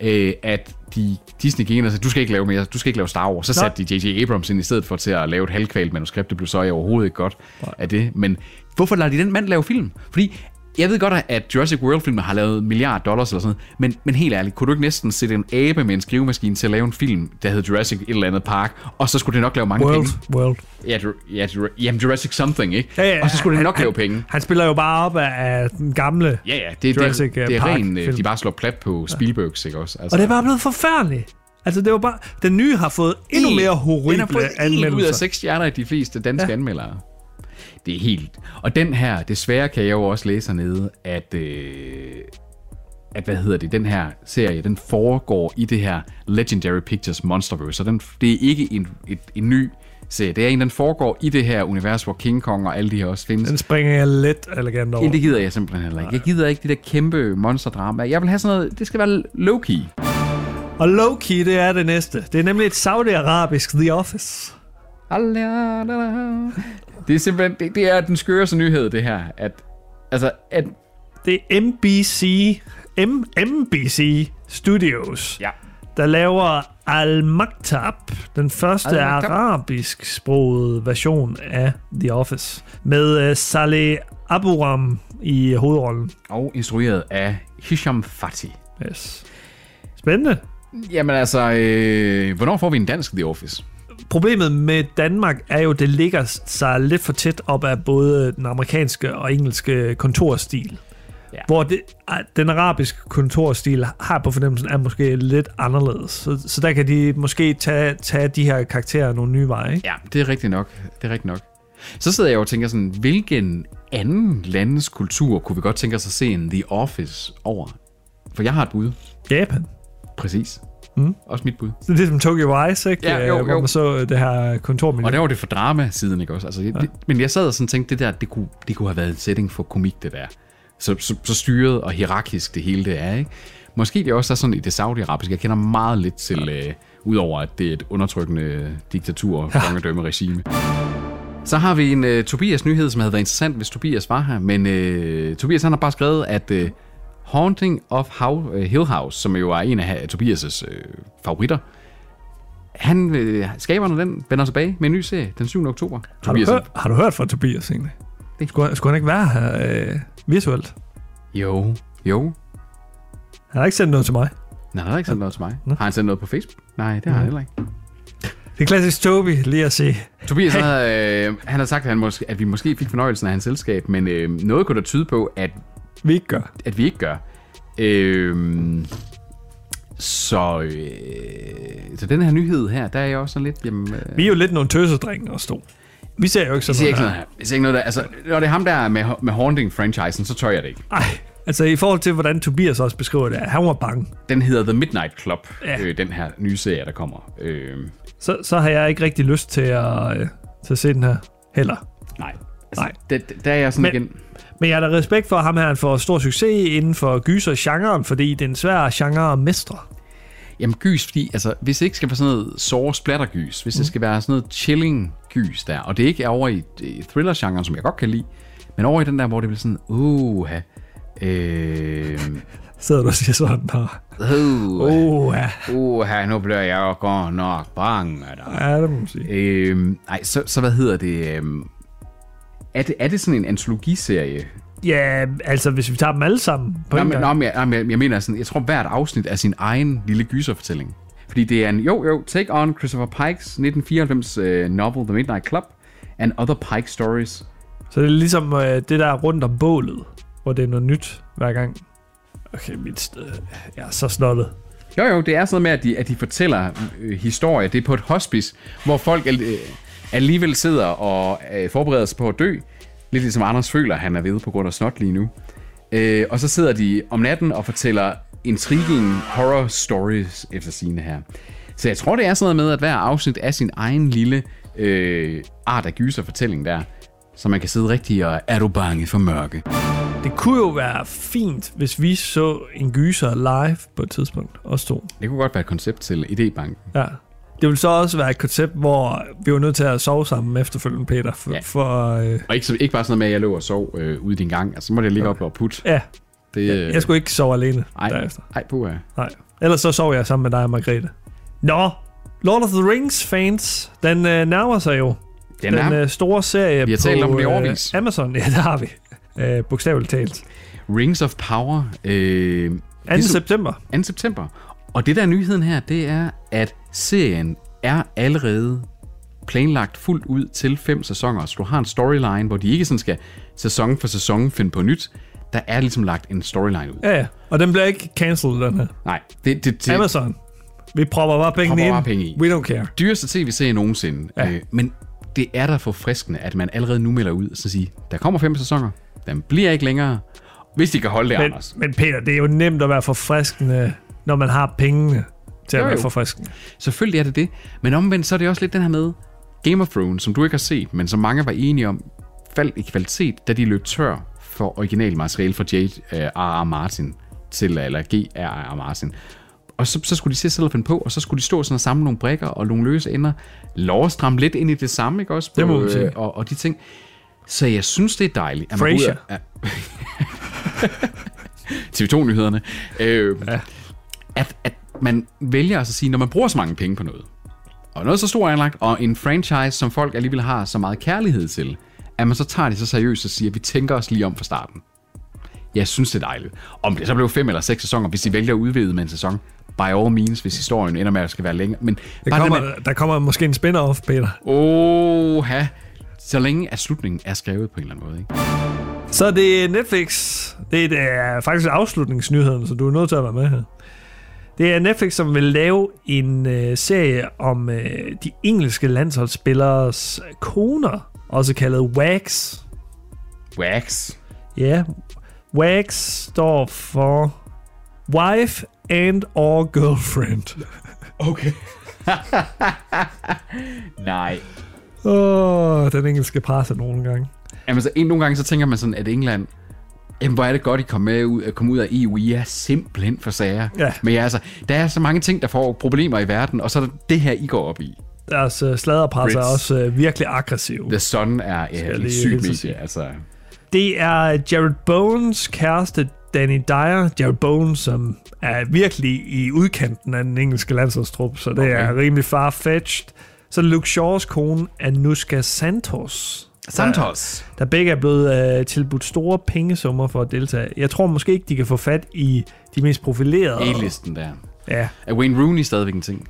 Speaker 3: øh, at de, Disney gik ind og sagde, du skal ikke lave mere, du skal ikke lave Star Wars. Så satte de J.J. Abrams ind i stedet for til at lave et halvkvalt manuskript. Det blev så overhovedet ikke godt af det. Men hvorfor lader de den mand lave film? Fordi jeg ved godt, at Jurassic World-filmen har lavet en milliard dollars eller sådan noget, men, men helt ærligt, kunne du ikke næsten sætte en abe med en skrivemaskine til at lave en film, der hed Jurassic et eller andet park, og så skulle det nok lave mange
Speaker 2: World,
Speaker 3: penge?
Speaker 2: world.
Speaker 3: Ja, Jur- ja Jur- jamen Jurassic Something, ikke? og så skulle det
Speaker 2: han-
Speaker 3: nok lave
Speaker 2: han,
Speaker 3: penge.
Speaker 2: Han spiller jo bare op af, af den gamle.
Speaker 3: Ja, ja, det,
Speaker 2: Jurassic,
Speaker 3: det,
Speaker 2: øh,
Speaker 3: det er
Speaker 2: Park
Speaker 3: ren, øh, de
Speaker 2: film.
Speaker 3: bare slår plat på Spielbergs, ikke også? Altså,
Speaker 2: Og det er bare blevet forfærdeligt. Altså, det var bare... Den nye har fået endnu mere
Speaker 3: Den har
Speaker 2: horrible
Speaker 3: fået en ud af
Speaker 2: anmeldelser.
Speaker 3: seks stjerner i de fleste danske ja. anmeldere. Det er helt... Og den her, desværre kan jeg jo også læse hernede, at... Øh, at hvad hedder det, den her serie, den foregår i det her Legendary Pictures Monsterverse, så den, det er ikke en, et, en ny serie, det er en, den foregår i det her univers, hvor King Kong og alle de her også findes.
Speaker 2: Den springer jeg let elegant over.
Speaker 3: Ja, det gider jeg simpelthen heller ikke. Jeg gider ikke det der kæmpe monsterdrama. Jeg vil have sådan noget, det skal være low-key.
Speaker 2: Og Loki, det er det næste. Det er nemlig et saudiarabisk The Office.
Speaker 3: Det er simpelthen, det, det er den skøreste nyhed, det her. At, altså, at,
Speaker 2: Det er MBC, M- MBC Studios,
Speaker 3: ja.
Speaker 2: der laver Al-Maktab, den første
Speaker 3: Al-Maktab.
Speaker 2: arabisk-sprogede version af The Office, med uh, Saleh Aburam i hovedrollen.
Speaker 3: Og instrueret af Hisham Fati.
Speaker 2: Yes. Spændende.
Speaker 3: Jamen altså, øh, hvornår får vi en dansk The Office?
Speaker 2: Problemet med Danmark er jo, at det ligger sig lidt for tæt op af både den amerikanske og engelske kontorstil.
Speaker 3: Ja.
Speaker 2: Ja. Hvor det, ah, den arabiske kontorstil har på fornemmelsen er måske lidt anderledes. Så, så der kan de måske tage, tage de her karakterer nogle nye veje. Ikke?
Speaker 3: Ja, det er rigtigt nok. Det er rigtigt nok. Så sidder jeg jo og tænker sådan, hvilken anden landes kultur kunne vi godt tænke os at se en The Office over? For jeg har et bud.
Speaker 2: Japan.
Speaker 3: Præcis. Mm. Også mit bud.
Speaker 2: Så det er som Tokyo Vice, ikke?
Speaker 3: Ja, jo,
Speaker 2: Øh, hvor
Speaker 3: jo.
Speaker 2: man så øh, det her kontormiljø.
Speaker 3: Og der var det for drama-siden, ikke også? Altså, ja. det, men jeg sad og sådan tænkte, det der, det kunne, det kunne have været en setting for komik, det der. Så, så, så styret og hierarkisk det hele det er, ikke? Måske det også er sådan i det saudiarabiske. Jeg kender meget lidt til, øh, udover at det er et undertrykkende diktatur og kongedømmeregime. Så har vi en øh, Tobias nyhed, som havde været interessant, hvis Tobias var her. Men øh, Tobias han har bare skrevet, at øh, Haunting of How, øh, Hill House, som jo er en af Tobias' øh, favoritter, han, øh, skaberne af den, vender tilbage med en ny serie den 7. oktober.
Speaker 2: har, du hørt, har du hørt fra Tobias egentlig?
Speaker 3: Det-
Speaker 2: Skulle, han- skulle han ikke være her øh, visuelt?
Speaker 3: Jo, jo.
Speaker 2: Han har ikke sendt noget til mig.
Speaker 3: Nej, han har ikke sendt noget til mig. Har han sendt noget på Facebook? Nej, det har han heller ikke.
Speaker 2: Det er klassisk Toby lige at se.
Speaker 3: Tobias hey. havde, øh, han har sagt, at, han måske, at vi måske fik fornøjelsen af hans selskab, men øh, noget kunne da tyde på, at,
Speaker 2: Vi ikke gør.
Speaker 3: at vi ikke gør. Øh, så, øh, så den her nyhed her, der er jeg også sådan lidt... Jamen, øh,
Speaker 2: Vi er jo lidt nogle tøsedrenge og to. Vi ser jo ikke
Speaker 3: jeg
Speaker 2: sådan
Speaker 3: ser ikke
Speaker 2: noget.
Speaker 3: sådan noget her. Jeg ser ikke noget der. Altså, når det er ham der med, med Haunting-franchisen, så tør jeg det ikke.
Speaker 2: Nej, altså i forhold til, hvordan Tobias også beskriver det, at han var bange.
Speaker 3: Den hedder The Midnight Club, ja.
Speaker 2: Ja.
Speaker 3: øh, den her nye serie, der kommer. Øh,
Speaker 2: Så, så har jeg ikke rigtig lyst til at, øh, til at se den her heller.
Speaker 3: Nej. Altså,
Speaker 2: Nej.
Speaker 3: Der, der er jeg sådan Men,
Speaker 2: Men-
Speaker 3: igen...
Speaker 2: Men jeg har da respekt for, at ham her han får stor succes inden for gyser-genren, fordi det er en svær genre at mestre.
Speaker 3: Jamen gys, fordi altså, hvis det ikke skal være sådan noget sore splattergys, hvis det skal være sådan noget chilling gys der, og det ikke er over i, i thriller-genren, som jeg godt kan lide, men over i den der, hvor det bliver sådan, uh, øh,
Speaker 2: Sidder du og siger sådan her.
Speaker 3: uh,
Speaker 2: Åh, ja.
Speaker 3: uh, nu bliver jeg jo godt nok bange der.
Speaker 2: Ja, det må man sige.
Speaker 3: Øhm, ej, så, så hvad hedder det, øhm, er det, er det sådan en antologiserie?
Speaker 2: Ja, altså hvis vi tager dem alle sammen på
Speaker 3: Nå,
Speaker 2: en
Speaker 3: men, nå,
Speaker 2: gang.
Speaker 3: men, jeg, nå, men jeg, jeg mener sådan, jeg tror hvert afsnit er sin egen lille gyserfortælling. Fordi det er en, jo jo, take on Christopher Pikes 1994 uh, novel The Midnight Club and other Pike stories.
Speaker 2: Så det er ligesom øh, det der er rundt om bålet, hvor det er noget nyt hver gang. Okay, mit sted. Jeg er så snottet.
Speaker 3: Jo jo, det er sådan noget med, at de, at de fortæller øh, historier. Det er på et hospice, hvor folk al- øh, alligevel sidder og øh, forbereder sig på at dø. Lidt ligesom Anders føler, han er ved på grund af snot lige nu. Øh, og så sidder de om natten og fortæller intriguing horror stories efter sine her. Så jeg tror, det er sådan noget med, at hver afsnit er sin egen lille øh, art af gyser fortælling der. Så man kan sidde rigtig og er du bange for mørke?
Speaker 2: Det kunne jo være fint, hvis vi så en gyser live på et tidspunkt, os to.
Speaker 3: Det kunne godt være et koncept til idébanken.
Speaker 2: Ja. Det vil så også være et koncept, hvor vi var nødt til at sove sammen efterfølgende, Peter, for,
Speaker 3: Ja.
Speaker 2: ja. for øh,
Speaker 3: Og ikke, så- ikke bare sådan noget med, at jeg lå og sov øh, ude i din gang. Altså, så måtte jeg ligge op og putte.
Speaker 2: ja,
Speaker 3: Det, øh,
Speaker 2: jeg skulle ikke sove alene
Speaker 3: ej,
Speaker 2: derefter.
Speaker 3: ej, puha.
Speaker 2: Nej. Ellers så sov jeg sammen med dig og Margrethe. Nå, Lord of the Rings fans, den øh, nærmer sig jo.
Speaker 3: Den er,
Speaker 2: den øh, store serie
Speaker 3: Vi har
Speaker 2: på
Speaker 3: talt om den i årevis. Ligesom-
Speaker 2: øh, Amazon. Ja, det har vi. Øh, bogstaveligt talt. 2.
Speaker 3: Rings of Power. Øh, det er så-
Speaker 2: september.
Speaker 3: 2. september. Og det der er nyheden her, det er, at serien er allerede planlagt fuldt ud til fem sæsoner. Så du har en storyline, hvor de ikke sådan skal sæson for sæson finde på nyt. Der er ligesom lagt en storyline ud.
Speaker 2: Ja, ja. Og den bliver ikke cancelled, den her.
Speaker 3: Nej, det, det, det,
Speaker 2: Amazon. Vi propper bare pengene
Speaker 3: Propper
Speaker 2: ind.
Speaker 3: bare penge i.
Speaker 2: We don't care.
Speaker 3: dyreste tv-serie nogensinde. Ja. Øh, men det er da forfriskende, at man allerede nu melder ud og så siger, der kommer fem sæsoner, den bliver ikke længere, hvis de kan holde det,
Speaker 2: Men,
Speaker 3: Anders.
Speaker 2: men Peter, det er jo nemt at være forfriskende, når man har pengene til at
Speaker 3: Jo,
Speaker 2: være
Speaker 3: jo.
Speaker 2: forfriskende.
Speaker 3: Selvfølgelig er det det, men omvendt så er det også lidt den her med Game of Thrones, som du ikke har set, men som mange var enige om, faldt i kvalitet, da de løb tør for originalmateriale fra J.R.R. Martin til, eller G.R.R. Martin. Og så, så skulle de se selv finde på, og så skulle de stå sådan og samle nogle brækker og nogle løse ender. Lov at stramme lidt ind i det samme, ikke også? På,
Speaker 2: Det må man sige.
Speaker 3: øh, og, og de ting. Så jeg synes, det er dejligt. at man går ud
Speaker 2: Frasier.
Speaker 3: og- Ja. TV2-nyhederne. Øh, ja. at, at man vælger altså at sige, når man bruger så mange penge på noget, og noget så stort anlagt, og en franchise, som folk alligevel har så meget kærlighed til, at man så tager det så seriøst og siger, at vi tænker os lige om fra starten. Jeg synes, det er dejligt. Om det så blev fem eller seks sæsoner, hvis de vælger at udvide med en sæson, by all means, hvis historien ender med, at det skal være længere. Men
Speaker 2: Der
Speaker 3: bare det
Speaker 2: kommer,
Speaker 3: med-
Speaker 2: der kommer måske en spin-off, Peter.
Speaker 3: Oha. Så længe at slutningen er skrevet på en eller anden måde. Ikke?
Speaker 2: Så det er Netflix. Det er, det er faktisk afslutningsnyheden, så du er nødt til at være med her. Det er Netflix, som vil lave en øh, serie om øh, de engelske landsholdsspilleres koner, også kaldet WAGs.
Speaker 3: Wax.
Speaker 2: Ja, WAGs står for Wife and or Girlfriend.
Speaker 3: Okay. Nej.
Speaker 2: Åh, oh, den engelske presse nogle gange.
Speaker 3: Jamen, så en, nogle gange så tænker man sådan, at England... Jamen, hvor er det godt, I kom, med ud, at komme ud af EU. I er simpelthen for sager.
Speaker 2: Ja.
Speaker 3: Men ja, altså, der er så mange ting, der får problemer i verden, og så er der det her, I går op i.
Speaker 2: Deres øh, sladderpresse er
Speaker 3: Brits.
Speaker 2: også øh, virkelig aggressiv.
Speaker 3: The Sun er ja,
Speaker 2: jeg
Speaker 3: et
Speaker 2: lige
Speaker 3: sygt
Speaker 2: hilse og
Speaker 3: medie,
Speaker 2: sige.
Speaker 3: altså.
Speaker 2: Det er Jared Bones kæreste, Danny Dyer. Jared Bones, som er virkelig i udkanten af den engelske landsholdstrup, så det okay. er rimelig farfetched. Så er det Luke Shaws kone, Anushka Santos,
Speaker 3: Santos.
Speaker 2: der begge er blevet øh, tilbudt store pengesummer for at deltage. Jeg tror måske ikke, de kan få fat i de mest profilerede.
Speaker 3: A-listen der.
Speaker 2: Ja,
Speaker 3: Er Wayne Rooney stadigvæk en ting?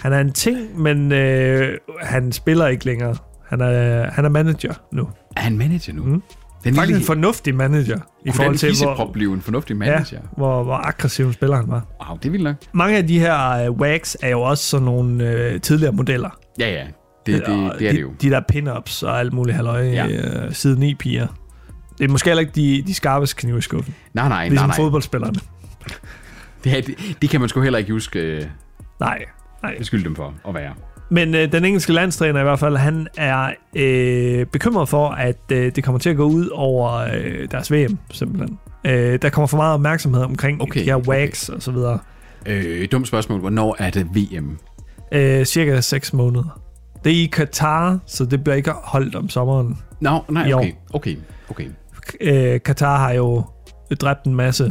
Speaker 2: han er en ting, men øh, han spiller ikke længere. Han er, han er manager nu.
Speaker 3: Er han manager nu? Mm. Den
Speaker 2: Faktisk en fornuftig manager. I
Speaker 3: Kunne den fiseprop blive en fornuftig manager?
Speaker 2: ja, hvor, hvor aggressiv en spiller han var.
Speaker 3: Wow, det er vildt nok.
Speaker 2: Mange af de her øh, wags er jo også sådan nogle øh, tidligere modeller.
Speaker 3: Ja, ja. Det, det, det,
Speaker 2: Og
Speaker 3: det er
Speaker 2: de,
Speaker 3: det jo.
Speaker 2: De der pin-ups og alt muligt halløj,
Speaker 3: Ja.
Speaker 2: ja. øh, siden i piger. Det er måske heller ikke de, de skarpeste knive i skuffen.
Speaker 3: Nej, nej, nej,
Speaker 2: Ligesom
Speaker 3: nej.
Speaker 2: fodboldspillerne.
Speaker 3: Det, er- det, det kan man sgu heller ikke huske øh,
Speaker 2: Nej, nej.
Speaker 3: beskylde dem for at være.
Speaker 2: Men øh, den engelske landstræner i hvert fald, han er øh, bekymret for, at øh, det kommer til at gå ud over øh, deres VM, simpelthen. Øh, der kommer for meget opmærksomhed omkring
Speaker 3: Okay,
Speaker 2: okay, de her
Speaker 3: okay.
Speaker 2: wags og så videre.
Speaker 3: Øh, dumt spørgsmål. Hvornår er det VM?
Speaker 2: Øh, cirka 6 måneder. Det er i Katar, så det bliver ikke holdt om sommeren.
Speaker 3: Nå, nej,
Speaker 2: Jo.
Speaker 3: okay. Okay, okay.
Speaker 2: øh, Katar har jo dræbt en masse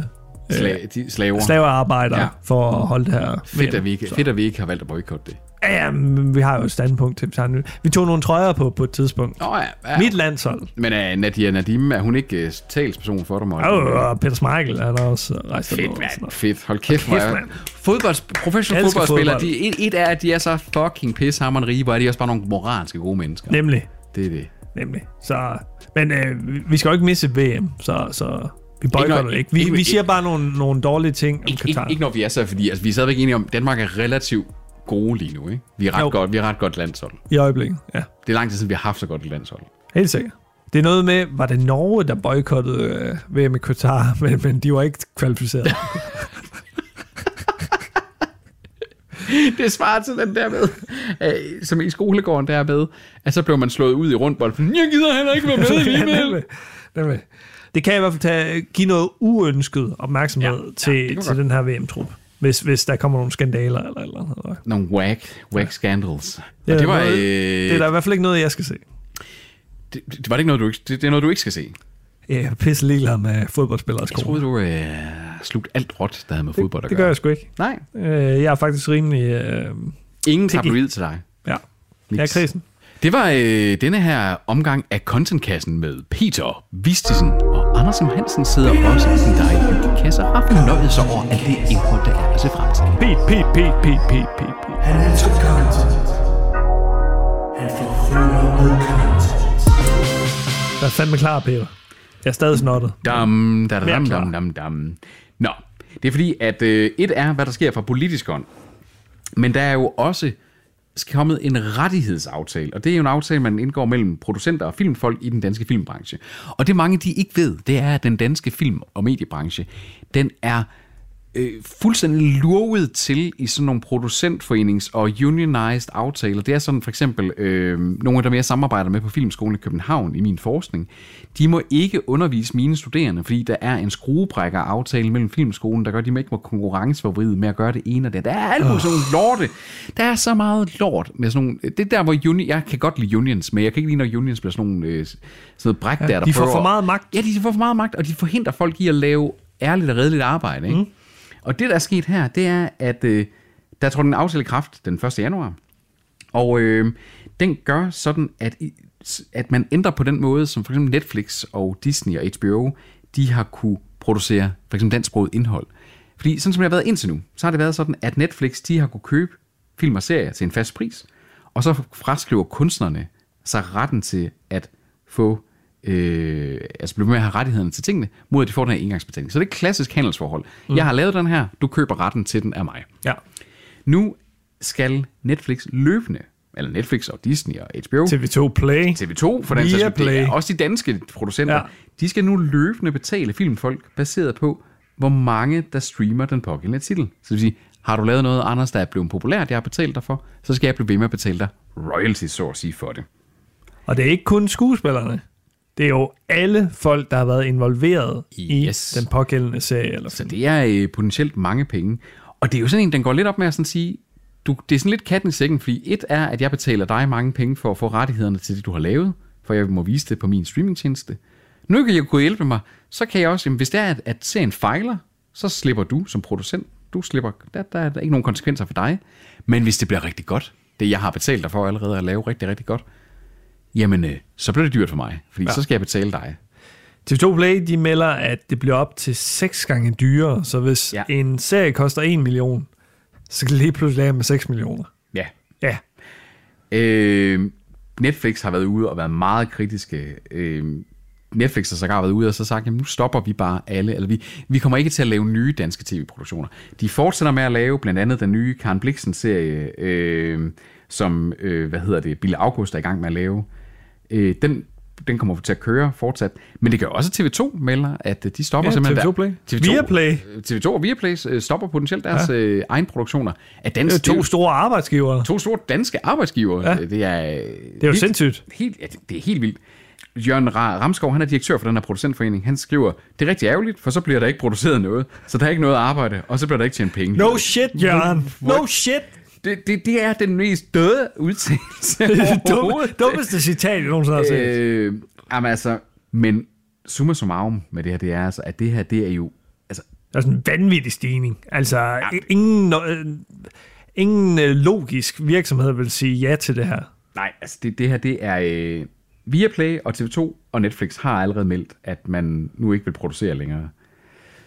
Speaker 2: øh,
Speaker 3: Sla, de slaver.
Speaker 2: slavearbejdere
Speaker 3: Ja.
Speaker 2: ja. for at holde det her.
Speaker 3: Fedt,
Speaker 2: VM.
Speaker 3: at vi ikke, fedt, at vi ikke har valgt at boykotte det.
Speaker 2: Ja, ja, men vi har jo et standpunkt til. vi tager en- Vi tog nogle trøjer på på et tidspunkt.
Speaker 3: Nå, ja, ja.
Speaker 2: Ja. Mit landshold.
Speaker 3: Men er Nadia Nadim, er hun ikke uh, talsperson for dig, Morten?
Speaker 2: øh, Og og Peter Schmeichel han er også rejst
Speaker 3: Fedt,
Speaker 2: derned og sådan
Speaker 3: mand.
Speaker 2: noget.
Speaker 3: Fedt. Hold kæft, hvor er...
Speaker 2: mand.
Speaker 3: Fodbolds, professionelle
Speaker 2: Elsker
Speaker 3: fodboldspillere,
Speaker 2: fodbold.
Speaker 3: de, et, et er, at de er så fucking pissehammerende rige, hvor er de også bare nogle moralske gode mennesker.
Speaker 2: Nemlig.
Speaker 3: Det er det.
Speaker 2: Nemlig. Så, men øh, vi- vi skal jo ikke misse VM, så, så vi boykotter
Speaker 3: noget-
Speaker 2: det ikke. Vi,
Speaker 3: ikke-
Speaker 2: vi siger
Speaker 3: ikke-
Speaker 2: bare nogle, nogle dårlige ting om
Speaker 3: Ikke, ikke,
Speaker 2: Katar.
Speaker 3: ikke når vi er så, fordi altså, vi er stadigvæk enige om, at Danmark er relativt gode lige nu. Ikke? Vi, er ret
Speaker 2: Jo.
Speaker 3: godt, vi er ret godt landshold.
Speaker 2: I øjeblikket, ja.
Speaker 3: Det er lang tid siden, vi har haft så godt et landshold.
Speaker 2: Helt sikkert. Det er noget med, var det Norge, der boykottede øh, VM i Qatar, men, men de var ikke kvalificeret.
Speaker 3: Det svarer til den der med, øh, som i skolegården der med, at så blev man slået ud i rundbold. Jeg gider heller ikke være med
Speaker 2: ja,
Speaker 3: alligevel.
Speaker 2: nemlig, nemlig. Det kan i hvert fald tage, give noget uønsket opmærksomhed
Speaker 3: Ja,
Speaker 2: ja,
Speaker 3: ja,
Speaker 2: ja, til,
Speaker 3: det kan
Speaker 2: til
Speaker 3: godt.
Speaker 2: den her VM-trup, hvis, hvis der kommer nogle skandaler eller eller andet.
Speaker 3: Nogle whack, whack scandals.
Speaker 2: Ja,
Speaker 3: Ja, og det var,
Speaker 2: noget-
Speaker 3: øh,
Speaker 2: Det er der i hvert fald ikke noget, jeg skal se.
Speaker 3: det, det, var det ikke noget, du ikke, det, det er noget, du ikke skal se.
Speaker 2: Jeg er pisse ligeglad med fodboldspillere
Speaker 3: Jeg troede, du øh, slugte alt råt, der havde med fodbold at
Speaker 2: det gør
Speaker 3: gøre.
Speaker 2: jeg sgu ikke.
Speaker 3: Nej,
Speaker 2: Øh, jeg er faktisk rimelig... Øh,
Speaker 3: ingen
Speaker 2: Picky.
Speaker 3: tabloid til dig.
Speaker 2: ja,
Speaker 3: Niks.
Speaker 2: jeg er krisen.
Speaker 3: Det var øh, denne her omgang af Contentkassen med Peter Vistisen og Andersen Hansen sidder også i den dejlige kasse og har fornøjet sig over alt det indhold, der er at se frem til.
Speaker 2: P, P, P, P, P, P, P.
Speaker 5: Han elsker content. Han forfylder med content.
Speaker 2: Jeg er fandme klar, Peter. Jeg er stadig snottet.
Speaker 3: Dam, da, da,
Speaker 2: Mere
Speaker 3: dam,
Speaker 2: klar.
Speaker 3: dam, dam, dam. Nå, det er fordi, at øh, et er, hvad der sker fra politisk hånd, men der er jo også kommet en rettighedsaftale, og det er jo en aftale, man indgår mellem producenter og filmfolk i den danske filmbranche. Og det mange, de ikke ved, det er, at den danske film- og mediebranche, den er øh, fuldstændig lurvet til i sådan nogle producentforenings- og unionized aftaler. Det er sådan for eksempel øh, nogle af dem, jeg samarbejder med på Filmskolen i København i min forskning. De må ikke undervise mine studerende, fordi der er en skruebrækker aftale mellem Filmskolen, der gør, at de ikke må konkurrenceforvride med at gøre det ene og det. andet. Der er alt muligt sådan nogle lorte. Der er så meget lort med sådan nogle... Det er der, hvor uni, jeg kan godt lide unions, men jeg kan ikke lide, når unions bliver sådan nogle øh, sådan noget bræk der, der
Speaker 2: de får
Speaker 3: prøver-
Speaker 2: for meget magt.
Speaker 3: Ja, de får for meget magt, og de forhindrer folk i at lave ærligt og redeligt arbejde. Ikke? Mm. Og det, der er sket her, det er, at øh, der tror den aftale i kraft den 1. januar. Og øh, den gør sådan, at, i- s- at man ændrer på den måde, som for eksempel Netflix og Disney og HBO, de har kunne producere for eksempel dansksproget indhold. Fordi sådan som det har været indtil nu, så har det været sådan, at Netflix de har kunne købe film og serier til en fast pris, og så fraskriver kunstnerne sig retten til at få øh, altså blive ved med at have rettighederne til tingene, mod at de får den her engangsbetaling. Så det er et klassisk handelsforhold. Mm. Jeg har lavet den her, du køber retten til den af mig.
Speaker 2: Ja.
Speaker 3: Nu skal Netflix løbende, eller Netflix og Disney og HBO,
Speaker 2: TV2 Play.
Speaker 3: TV2 for den sags skyld, det
Speaker 2: Viaplay.
Speaker 3: er også de danske producenter, ja.
Speaker 2: Ja.
Speaker 3: de skal nu løbende betale filmfolk baseret på, hvor mange der streamer den pågældende titel. Så det vil sige, har du lavet noget, Anders, der er blevet populært, jeg har betalt dig for, så skal jeg blive ved med at betale dig royalties, så at sige, for det.
Speaker 2: Og det er ikke kun skuespillerne. Det er jo alle folk, der har været involveret
Speaker 3: Yes.
Speaker 2: i den pågældende serie. Eller
Speaker 3: Så
Speaker 2: film.
Speaker 3: det er øh, potentielt mange penge. Og det er jo sådan en, den går lidt op med at sådan sige, du, det er sådan lidt katten i sækken, fordi et er, at jeg betaler dig mange penge for at få rettighederne til det, du har lavet, for jeg må vise det på min streamingtjeneste. Nu kan jeg kunne hjælpe mig, så kan jeg også, jamen, hvis det er, at, at serien fejler, så slipper du som producent, du slipper, der, der, er- der er ikke nogen konsekvenser for dig. Men hvis det bliver rigtig godt, det jeg har betalt dig for allerede at lave rigtig, rigtig godt, jamen øh, så bliver det dyrt for mig, fordi ja. så skal jeg betale dig.
Speaker 2: TV2 Play de melder, at det bliver op til seks gange dyrere, så hvis
Speaker 3: Ja.
Speaker 2: ja. en serie koster 1 million, så kan det lige pludselig af med 6 millioner.
Speaker 3: Ja,
Speaker 2: Ja,
Speaker 3: Øh, Netflix har været ude og været meget kritiske. Øh, Netflix har sågar været ude og så sagt, jamen nu stopper vi bare alle. Eller vi, vi kommer ikke til at lave nye danske tv-produktioner. De fortsætter med at lave blandt andet den nye Karen Bliksen-serie, øh, som, øh, hvad hedder det, Bille August er i gang med at lave. Øh, den, den kommer til at køre fortsat. Men det gør også TV2 melder, at øh, de stopper
Speaker 2: Ja,
Speaker 3: simpelthen.
Speaker 2: TV2
Speaker 3: hver-
Speaker 2: Play.
Speaker 3: TV2,
Speaker 2: Viaplay.
Speaker 3: øh, TV2 og Viaplay øh, stopper potentielt deres ja. øh, egen produktioner. Af dansk,
Speaker 2: det er to store arbejdsgivere.
Speaker 3: to store danske arbejdsgivere. Ja.
Speaker 2: Ja.
Speaker 3: Det er, det
Speaker 2: jo sindssygt.
Speaker 3: Helt, ja, det, det er helt vildt. Jørgen Ra- Ramskov, han er direktør for den her producentforening. Han skriver, det er rigtig ærgerligt, for så bliver der ikke produceret noget. Så der er ikke noget at arbejde, og så bliver der ikke tjent penge.
Speaker 2: No shit, Jørgen. No shit.
Speaker 3: Det, det, det er den mest døde udtalelse
Speaker 2: Dumme,
Speaker 3: overhovedet.
Speaker 2: dummeste citat, jeg nogensinde har set.
Speaker 3: Øh, jamen altså, men summa summarum med det her, det er altså, at det her, det er jo, altså,
Speaker 2: Der er sådan en vanvittig stigning. Altså, ingen, øh, ingen øh, logisk virksomhed vil sige ja til det her.
Speaker 3: Nej, altså det, det her, det er... Øh, Viaplay og TV2 og Netflix har allerede meldt, at man nu ikke vil producere længere.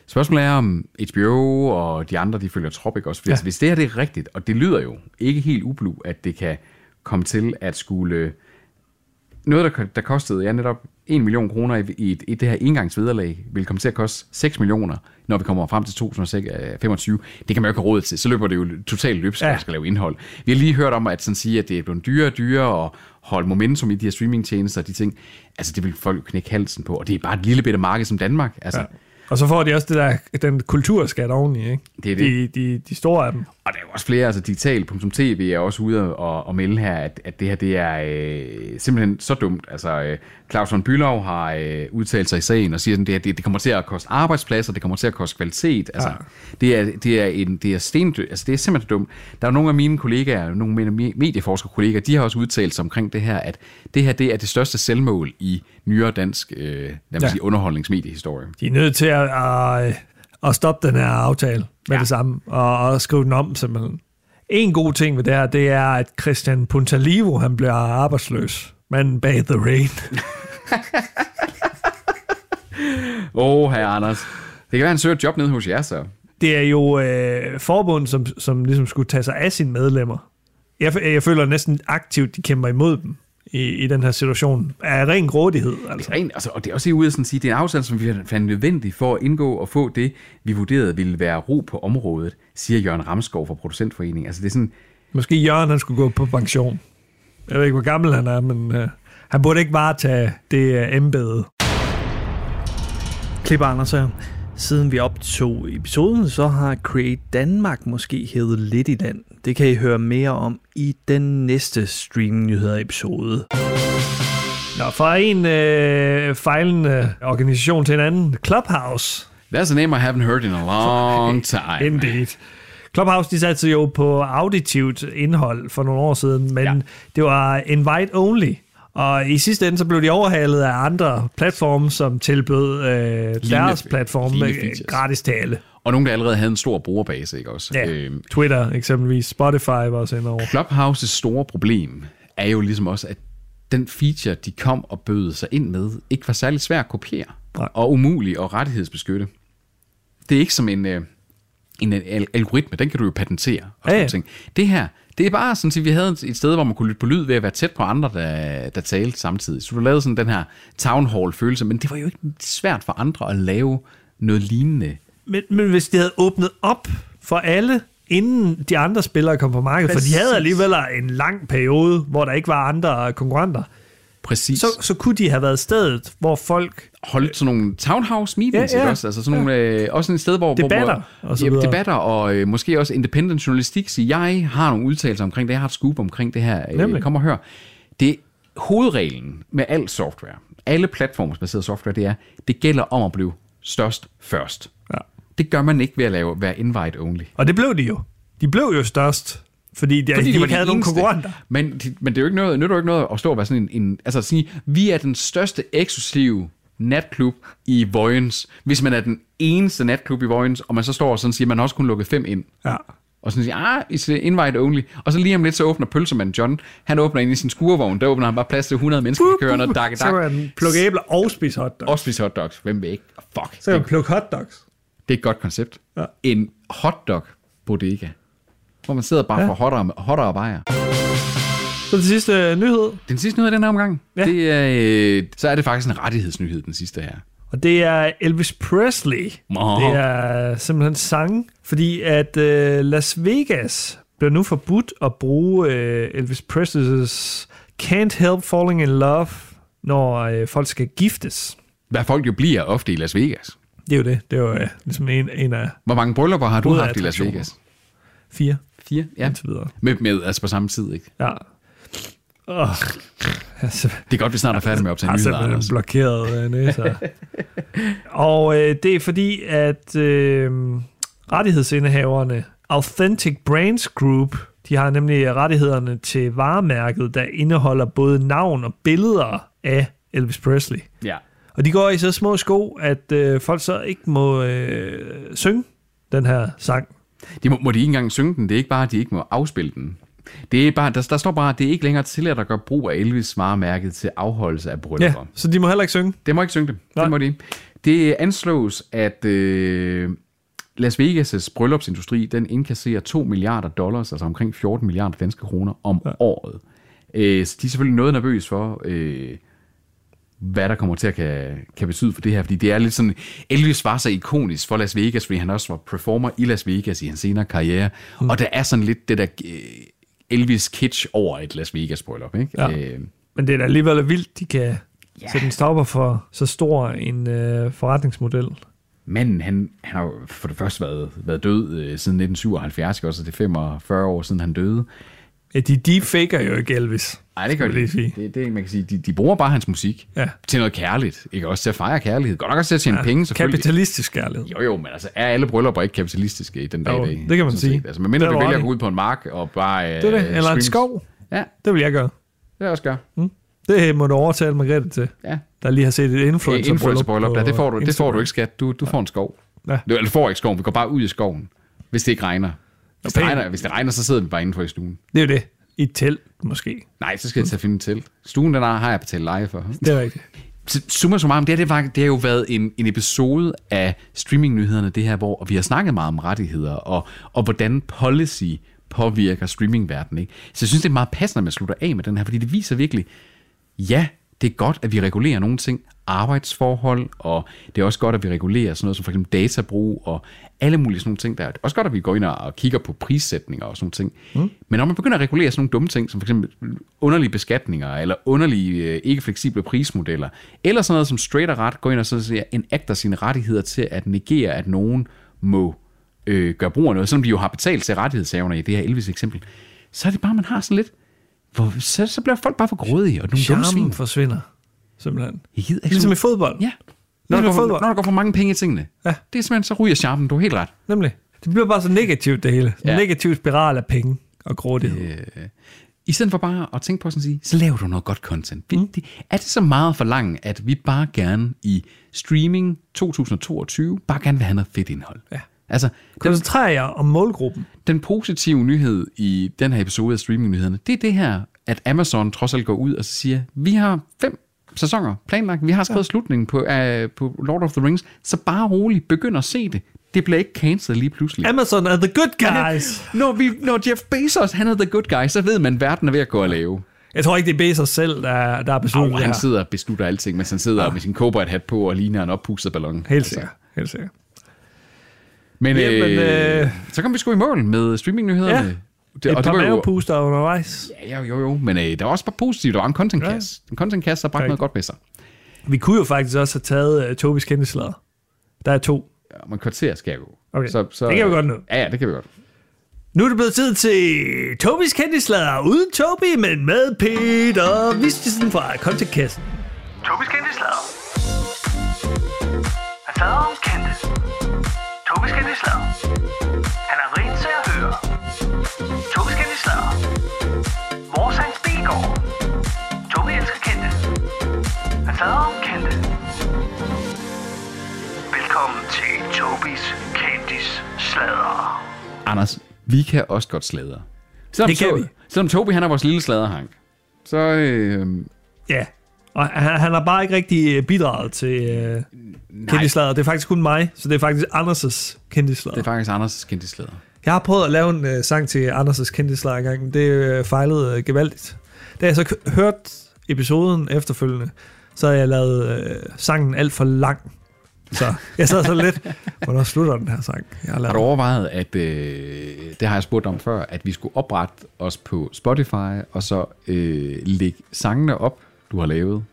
Speaker 3: Spørgsmålet er, om HBO og de andre, de følger trop, ikke også? Ja. Altså, hvis det her det er rigtigt, og det lyder jo ikke helt ublu, at det kan komme til at skulle... øh, Noget, der, ko- der kostede ja, netop 1 million kroner i, i, et- i det her engangsvederlag, vil komme til at koste 6 millioner, når vi kommer frem til 2025. øh, Det kan man jo ikke have råd til. Så løber det jo totalt løbsk, ja.
Speaker 2: Ja.
Speaker 3: at skal lave indhold. Vi har lige hørt om, at sådan sige, at det er blevet dyrere og dyrere at holde momentum i de her streamingtjenester og de ting. Altså, det vil folk knække halsen på. Og det er bare et lille bitte marked som Danmark. Altså, ja.
Speaker 2: Og så får de også det der, den kulturskat oveni, ikke?
Speaker 3: Det er det.
Speaker 2: De, de, de store af dem.
Speaker 3: Og der er jo også flere, altså digital.tv er også ude og, og melde her, at, at det her det er øh, simpelthen så dumt. Altså, øh, Claus von Bülow har øh, udtalt sig i sagen og siger, at det, her, det, det kommer til at koste arbejdspladser, det kommer til at koste kvalitet. Altså, ja. det, er, det, er en, det er stendø, altså det er simpelthen dumt. Der er nogle af mine kollegaer, nogle af mine medieforskerkollegaer, de har også udtalt sig omkring det her, at det her det er det største selvmål i nyere dansk øh, lad ja. sige, underholdningsmediehistorie.
Speaker 2: De er nødt til at, at, at stoppe den her aftale med ja. det samme, og, og skrive den om simpelthen. En god ting ved det her, det er, at Christian Puntalivo, han bliver arbejdsløs. Manden bag The Rain.
Speaker 3: Åh, oh, herre Anders. Det kan være, han søger et job nede hos jer, så.
Speaker 2: det er jo øh, forbund, som, som ligesom skulle tage sig af sine medlemmer. Jeg, jeg føler næsten aktivt, de kæmper imod dem i, i den her situation. Af ren grådighed, altså.
Speaker 3: Det er rent, altså, og det er også ude at sådan sige, det er en aftale, som vi fandt nødvendig for at indgå og få det, vi vurderede ville være ro på området, siger Jørgen Ramskov fra Producentforeningen. Altså det er sådan,
Speaker 2: Måske Jørgen, han skulle gå på pension. Jeg ved ikke, hvor gammel han er, men øh, han burde ikke bare tage det øh, embede.
Speaker 1: Klipper Anders her. Siden vi optog episoden, så har Create Danmark måske hævet lidt i land. Det kan I høre mere om i den næste streaming-nyheder-episode.
Speaker 2: Nå, fra en øh, fejlende organisation til en anden. Clubhouse,
Speaker 3: that's a name I haven't heard in a long time.
Speaker 2: indeed. Clubhouse, de satte sig jo på auditivt indhold for nogle år siden, men ja.
Speaker 3: Ja.
Speaker 2: det var invite only. Og i sidste ende, så blev de overhalet af andre platforme, som tilbød øh, deres platform med
Speaker 3: lignende features.
Speaker 2: gratis tale.
Speaker 3: Og nogen, der allerede havde en stor brugerbase, ikke også?
Speaker 2: Ja,
Speaker 3: Øhm,
Speaker 2: Twitter eksempelvis, Spotify var også inde over.
Speaker 3: Clubhouses store problem er jo ligesom også, at den feature, de kom og bød sig ind med, ikke var særlig svær at kopiere
Speaker 2: Nej.
Speaker 3: og umulig at rettighedsbeskytte. Det er ikke som en, øh, en al- algoritme, den kan du jo patentere.
Speaker 2: Ja,
Speaker 3: Og ja,
Speaker 2: ja.
Speaker 3: ja. Ting. Det her, det er bare sådan, at vi havde et sted, hvor man kunne lytte på lyd ved at være tæt på andre, der, der talte samtidig. Så du lavede sådan den her town hall-følelse, men det var jo ikke svært for andre at lave noget lignende.
Speaker 2: Men, men hvis de havde åbnet op for alle, inden de andre spillere kom på markedet, for de havde alligevel en lang periode, hvor der ikke var andre konkurrenter,
Speaker 3: Præcis.
Speaker 2: så, så kunne de have været stedet, hvor folk...
Speaker 3: holdt sådan nogle townhouse meetings,
Speaker 2: Øh, Ja,
Speaker 3: ja,
Speaker 2: ja.
Speaker 3: ja. også? Altså sådan nogle, øh, også et sted, hvor...
Speaker 2: Debatter
Speaker 3: hvor,
Speaker 2: og så
Speaker 3: ja,
Speaker 2: videre.
Speaker 3: debatter og øh, måske også independent journalistik siger, jeg har nogle udtalelser omkring det, jeg har et scoop omkring det her.
Speaker 2: Nemlig.
Speaker 3: Øh, kom og hør. Det er hovedreglen med al software, alle platformsbaserede software, det er, det gælder om at blive størst først.
Speaker 2: Ja.
Speaker 3: Det gør man ikke ved at lave, være invite only.
Speaker 2: Og det blev de jo. De blev jo størst, fordi de, fordi de, de ikke havde nogen
Speaker 3: eneste.
Speaker 2: konkurrenter.
Speaker 3: Men, de, men det er jo ikke noget, nytter jo ikke noget at stå og være sådan en, en altså at sige, vi er den største eksklusive natklub i Vojens, hvis man er den eneste natklub i Vojens, og man så står og sådan siger, man har også kun lukket fem ind.
Speaker 2: Ja.
Speaker 3: Og sådan siger, ah, it's invite only. Og så lige om lidt, så åbner pølsemanden John. Han åbner ind i sin skurvogn. Der åbner han bare plads til 100 mennesker, der kører noget dak,
Speaker 2: Så kan
Speaker 3: dak.
Speaker 2: man plukke æbler og spise hotdogs.
Speaker 3: Også spise hotdogs. Hvem vil ikke? Fuck.
Speaker 2: Så kan
Speaker 3: Det,
Speaker 2: man plukke hotdogs.
Speaker 3: det er et godt koncept.
Speaker 2: Ja.
Speaker 3: En hotdog bodega. Hvor man sidder bare ja. for hotter, hotter og bajer.
Speaker 2: Så den sidste øh, nyhed,
Speaker 3: Den sidste nyhed i den her omgang,
Speaker 2: Ja.
Speaker 3: ja. det er, øh, så er det faktisk en rettighedsnyhed, den sidste her.
Speaker 2: og det er Elvis Presley.
Speaker 3: Nå.
Speaker 2: Det er øh, simpelthen sang, fordi at øh, Las Vegas bliver nu forbudt at bruge øh, Elvis Presley's Can't Help Falling in Love, når øh, folk skal giftes.
Speaker 3: Hvad folk jo bliver ofte i Las Vegas.
Speaker 2: Det er jo det. Det er jo øh, ligesom en, en af
Speaker 3: Hvor mange bryllupper har du
Speaker 2: Både
Speaker 3: haft i Las
Speaker 2: attraktioner.
Speaker 3: Vegas?
Speaker 2: fire,
Speaker 3: Fire, ja.
Speaker 2: ja. indtil videre.
Speaker 3: Med, med, altså på samme tid, ikke?
Speaker 2: Ja. Oh, altså,
Speaker 3: Det er godt, vi snart er færdige med at optage
Speaker 2: har
Speaker 3: nyheder,
Speaker 2: simpelthen
Speaker 3: Anders.
Speaker 2: blokeret øh, næser. og øh, det er fordi, at øh, rettighedsindehaverne Authentic Brands Group, de har nemlig rettighederne til varemærket, der indeholder både navn og billeder af Elvis Presley.
Speaker 3: Ja.
Speaker 2: Og de går i så små sko, at øh, folk så ikke må øh, synge den her sang.
Speaker 3: De må, må de ikke engang synge den, det er ikke bare, at de ikke må afspille den. Det er bare, der, der står bare, at det er ikke længere tilladt at gøre brug af Elvis varemærket til afholdelse af
Speaker 2: Ja,
Speaker 3: bryllupper.
Speaker 2: så de må heller ikke synge.
Speaker 3: Det må ikke synge dem.
Speaker 2: Nej.
Speaker 3: Det må de ikke. Det anslås, at øh, Las Vegas' bryllupsindustri, den indkasserer 2 milliarder dollars, altså omkring 14 milliarder danske kroner om ja. året. Øh, så de er selvfølgelig noget nervøs for, øh, hvad der kommer til at kan, kan betyde for det her, fordi det er lidt sådan, Elvis var så ikonisk for Las Vegas, fordi han også var performer i Las Vegas i hans senere karriere, mm. og der er sådan lidt det der øh, Elvis-kitsch over et Las Vegas-bryllup, ikke?
Speaker 2: Ja.
Speaker 3: Øh,
Speaker 2: Men det er da alligevel vildt, de kan yeah. sætte en stopper for så stor en øh, forretningsmodel.
Speaker 3: Manden, han, han har jo for det første været, været død øh, siden 1977, ikke også? Så Det er 45 år siden, han døde.
Speaker 2: Ja, de deepfaker jo ikke Elvis.
Speaker 3: Nej, det gør
Speaker 2: skulle
Speaker 3: de.
Speaker 2: jeg lige
Speaker 3: Det,
Speaker 2: sige.
Speaker 3: det, det, man kan sige, de, de bruger bare hans musik
Speaker 2: Ja.
Speaker 3: til noget kærligt, ikke? Også til at fejre kærlighed. Godt nok også til at tjene ja, penge, selvfølgelig.
Speaker 2: Kapitalistisk kærlighed.
Speaker 3: Jo, jo, men altså, er alle bryllupper ikke kapitalistiske i den dag
Speaker 2: Jo,
Speaker 3: i dag?
Speaker 2: det kan man
Speaker 3: Sådan
Speaker 2: sige.
Speaker 3: set. Altså, medmindre
Speaker 2: Der
Speaker 3: du
Speaker 2: var
Speaker 3: vælger at
Speaker 2: det.
Speaker 3: gå ud på en mark og bare... øh,
Speaker 2: Det er det. Eller en skov.
Speaker 3: Ja, det
Speaker 2: Det vil jeg gøre. Mm.
Speaker 3: vil jeg også gøre.
Speaker 2: Det må du overtale Margrethe til,
Speaker 3: Ja. øh,
Speaker 2: der lige har set et influencer
Speaker 3: Influencer-bryllup, der, det får, du, det får du ikke, skat. Du, du får en skov.
Speaker 2: Ja.
Speaker 3: Du, eller du får ikke skoven, vi går bare ud i skoven, hvis det ikke regner. Hvis det
Speaker 2: pænt.
Speaker 3: regner, hvis det regner så sidder vi bare indenfor i stuen.
Speaker 2: Det er jo det. I et telt, måske.
Speaker 3: Nej, så skal jeg til at finde til. Stuen, den har har jeg betalt leje for.
Speaker 2: Det er rigtigt.
Speaker 3: Så summa summarum, det, her, det, var, det har jo været en, en episode af streamingnyhederne, det her, hvor vi har snakket meget om rettigheder, og, og hvordan policy påvirker streamingverdenen. Ikke? Så jeg synes, det er meget passende, at man slutter af med den her, fordi det viser virkelig, ja, det er godt, at vi regulerer nogle ting, arbejdsforhold, og det er også godt, at vi regulerer sådan noget som for eksempel databrug, og alle mulige sådan nogle ting. Der er også godt, at vi går ind og- og kigger på prissætninger og sådan nogle ting. Mm. Men når man begynder at regulere sådan nogle dumme ting, som for eksempel underlige beskatninger, eller underlige øh, ikke fleksible prismodeller, eller sådan noget som straight og ret, går ind og sådan siger, enacter sine rettigheder til at negere, at nogen må øh, gøre brug af noget, selvom de jo har betalt til rettighedshaverne i det her Elvis eksempel, så er det bare, man har sådan lidt, hvor, så, så bliver folk bare for grådige, og nogle dumme svin.
Speaker 2: Charmen forsvinder, simpelthen.
Speaker 3: Jeg gider ikke
Speaker 2: Ligesom i
Speaker 3: sådan-
Speaker 2: fodbold.
Speaker 3: Ja. Når
Speaker 2: Ligesom
Speaker 3: der,
Speaker 2: i
Speaker 3: går for,
Speaker 2: fodbold.
Speaker 3: når der går for mange penge i tingene.
Speaker 2: Ja.
Speaker 3: Det er simpelthen, så ryger charmen. Du har helt ret.
Speaker 2: Nemlig. Det bliver bare så negativt, det hele. En
Speaker 3: Ja.
Speaker 2: negativ spiral af penge og grådighed.
Speaker 3: Øh, I stedet for bare at tænke på sådan at sige, så laver du noget godt content. Mm. Det, er det så meget for langt, at vi bare gerne i streaming 2022, bare gerne vil have noget fedt indhold?
Speaker 2: Ja.
Speaker 3: Altså, den,
Speaker 2: Koncentrer jer om målgruppen.
Speaker 3: den positive nyhed i den her episode af streamingnyhederne, det er det her, at Amazon trods alt går ud og så siger, vi har fem sæsoner planlagt, vi har skrevet ja. slutningen på, uh, på Lord of the Rings, så bare roligt, begynd at se det. Det bliver ikke cancelled lige pludselig.
Speaker 2: Amazon er the good guys.
Speaker 3: Når, vi, når Jeff Bezos han er the good guy, så ved man, at verden er ved at gå og lave.
Speaker 2: Jeg tror ikke, det er Bezos selv, der, der er besluttet
Speaker 3: Og
Speaker 2: det
Speaker 3: han
Speaker 2: her.
Speaker 3: sidder og beslutter alting, mens han sidder med sin cowboy hat på og ligner en oppustet ballon.
Speaker 2: Ah.
Speaker 3: Altså,
Speaker 2: Helt sikkert. Helt sikkert.
Speaker 3: Men,
Speaker 2: Jamen,
Speaker 3: øh,
Speaker 2: øh,
Speaker 3: så kom vi sgu i mål med streamingnyhederne.
Speaker 2: Ja.
Speaker 3: Det,
Speaker 2: Et
Speaker 3: og
Speaker 2: par
Speaker 3: det var jo,
Speaker 2: mavepuster undervejs.
Speaker 3: ja, jo, jo, jo, men øh, der var også bare positivt. Der var en contentkasse. Ja. En contentkasse, der bragte
Speaker 2: Rigtigt.
Speaker 3: noget godt med sig.
Speaker 2: Vi kunne jo faktisk også have taget uh, Tobis kendeslader. Der er to.
Speaker 3: Ja, men kvarter skal jeg jo.
Speaker 2: Okay. Det kan vi godt nå.
Speaker 3: Ja, ja, det kan vi godt.
Speaker 2: Nu er det blevet tid til Tobis kendeslader. Uden Tobi, men med Peter Vistisen fra Contentkassen.
Speaker 4: Tobis kendte slader. Han slader om kendte. Tobis kendte slader. Han er rent til at høre. Tobis kendte slader. Vores Hans Bilgaard. Tobi elsker kendte. Han slader om kendte. Velkommen til Tobis kendtis slader.
Speaker 3: Anders, vi kan også godt sladre. Selvom
Speaker 2: Det kan
Speaker 3: To-
Speaker 2: vi.
Speaker 3: Selvom Tobi han er vores lille sladerhank, så... Øh,
Speaker 2: Ja, og han, han har bare ikke rigtig øh, bidraget til øh, kendeslader. Det er faktisk kun mig, så det er faktisk Anders'
Speaker 3: Det
Speaker 2: kendeslader.
Speaker 3: er faktisk Anders' kendte slæder.
Speaker 2: Jeg har prøvet at lave en øh, sang til Anders' kendeslader engang, men det øh, fejlede øh, gevaldigt. Da jeg så k- hørte episoden efterfølgende, så havde jeg lavet øh, sangen alt for lang. Så jeg sad så lidt, hvornår slutter den her sang? Jeg har
Speaker 3: Har
Speaker 2: lavet.
Speaker 3: du overvejet, at øh, det har jeg spurgt om før, at vi skulle oprette os på Spotify, og så øh, lægge sangene op, du har lavet?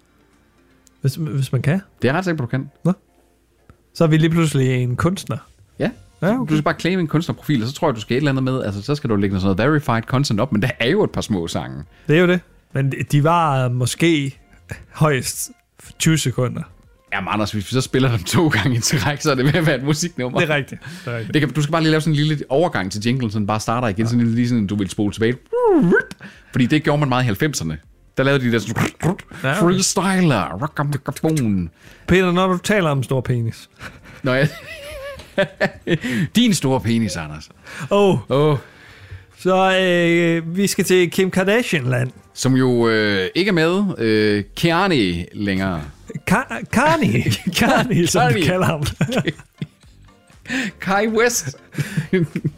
Speaker 2: Hvis, hvis man kan,
Speaker 3: Det er jeg ret sikker på, du kan.
Speaker 2: så er vi lige pludselig en kunstner.
Speaker 3: Ja.
Speaker 2: Ja,
Speaker 3: Du
Speaker 2: okay.
Speaker 3: skal bare claim en kunstnerprofil, og så tror jeg, du skal et eller andet med. Altså, så skal du lægge noget sådan noget verified content op, men der er jo et par små sange.
Speaker 2: Det er jo det. Men de- de var øh, måske højst 20 sekunder.
Speaker 3: Jamen, Anders, hvis vi så spiller dem to gange i træk, så er det ved at være et musiknummer.
Speaker 2: Det er rigtigt. Det er rigtigt.
Speaker 3: Det kan, du skal bare lige lave sådan en lille overgang til jinglen, så den bare starter igen, sådan lige sådan, du vil spole tilbage. Fordi det gjorde man meget i 90'erne. Der lavede de der sådan,
Speaker 2: Ja, okay.
Speaker 3: freestyler, rock om mikrofon.
Speaker 2: Peter, når du taler om stor penis.
Speaker 3: Nå ja. Din store penis, Anders.
Speaker 2: Oh,
Speaker 3: Oh,
Speaker 2: så øh, vi skal til Kim Kardashian-land.
Speaker 3: som jo øh, ikke er med. Øh, Kearney længere.
Speaker 2: Ka- Kanye. Kanye, som vi
Speaker 3: Kanye.
Speaker 2: kalder ham.
Speaker 3: Kai West.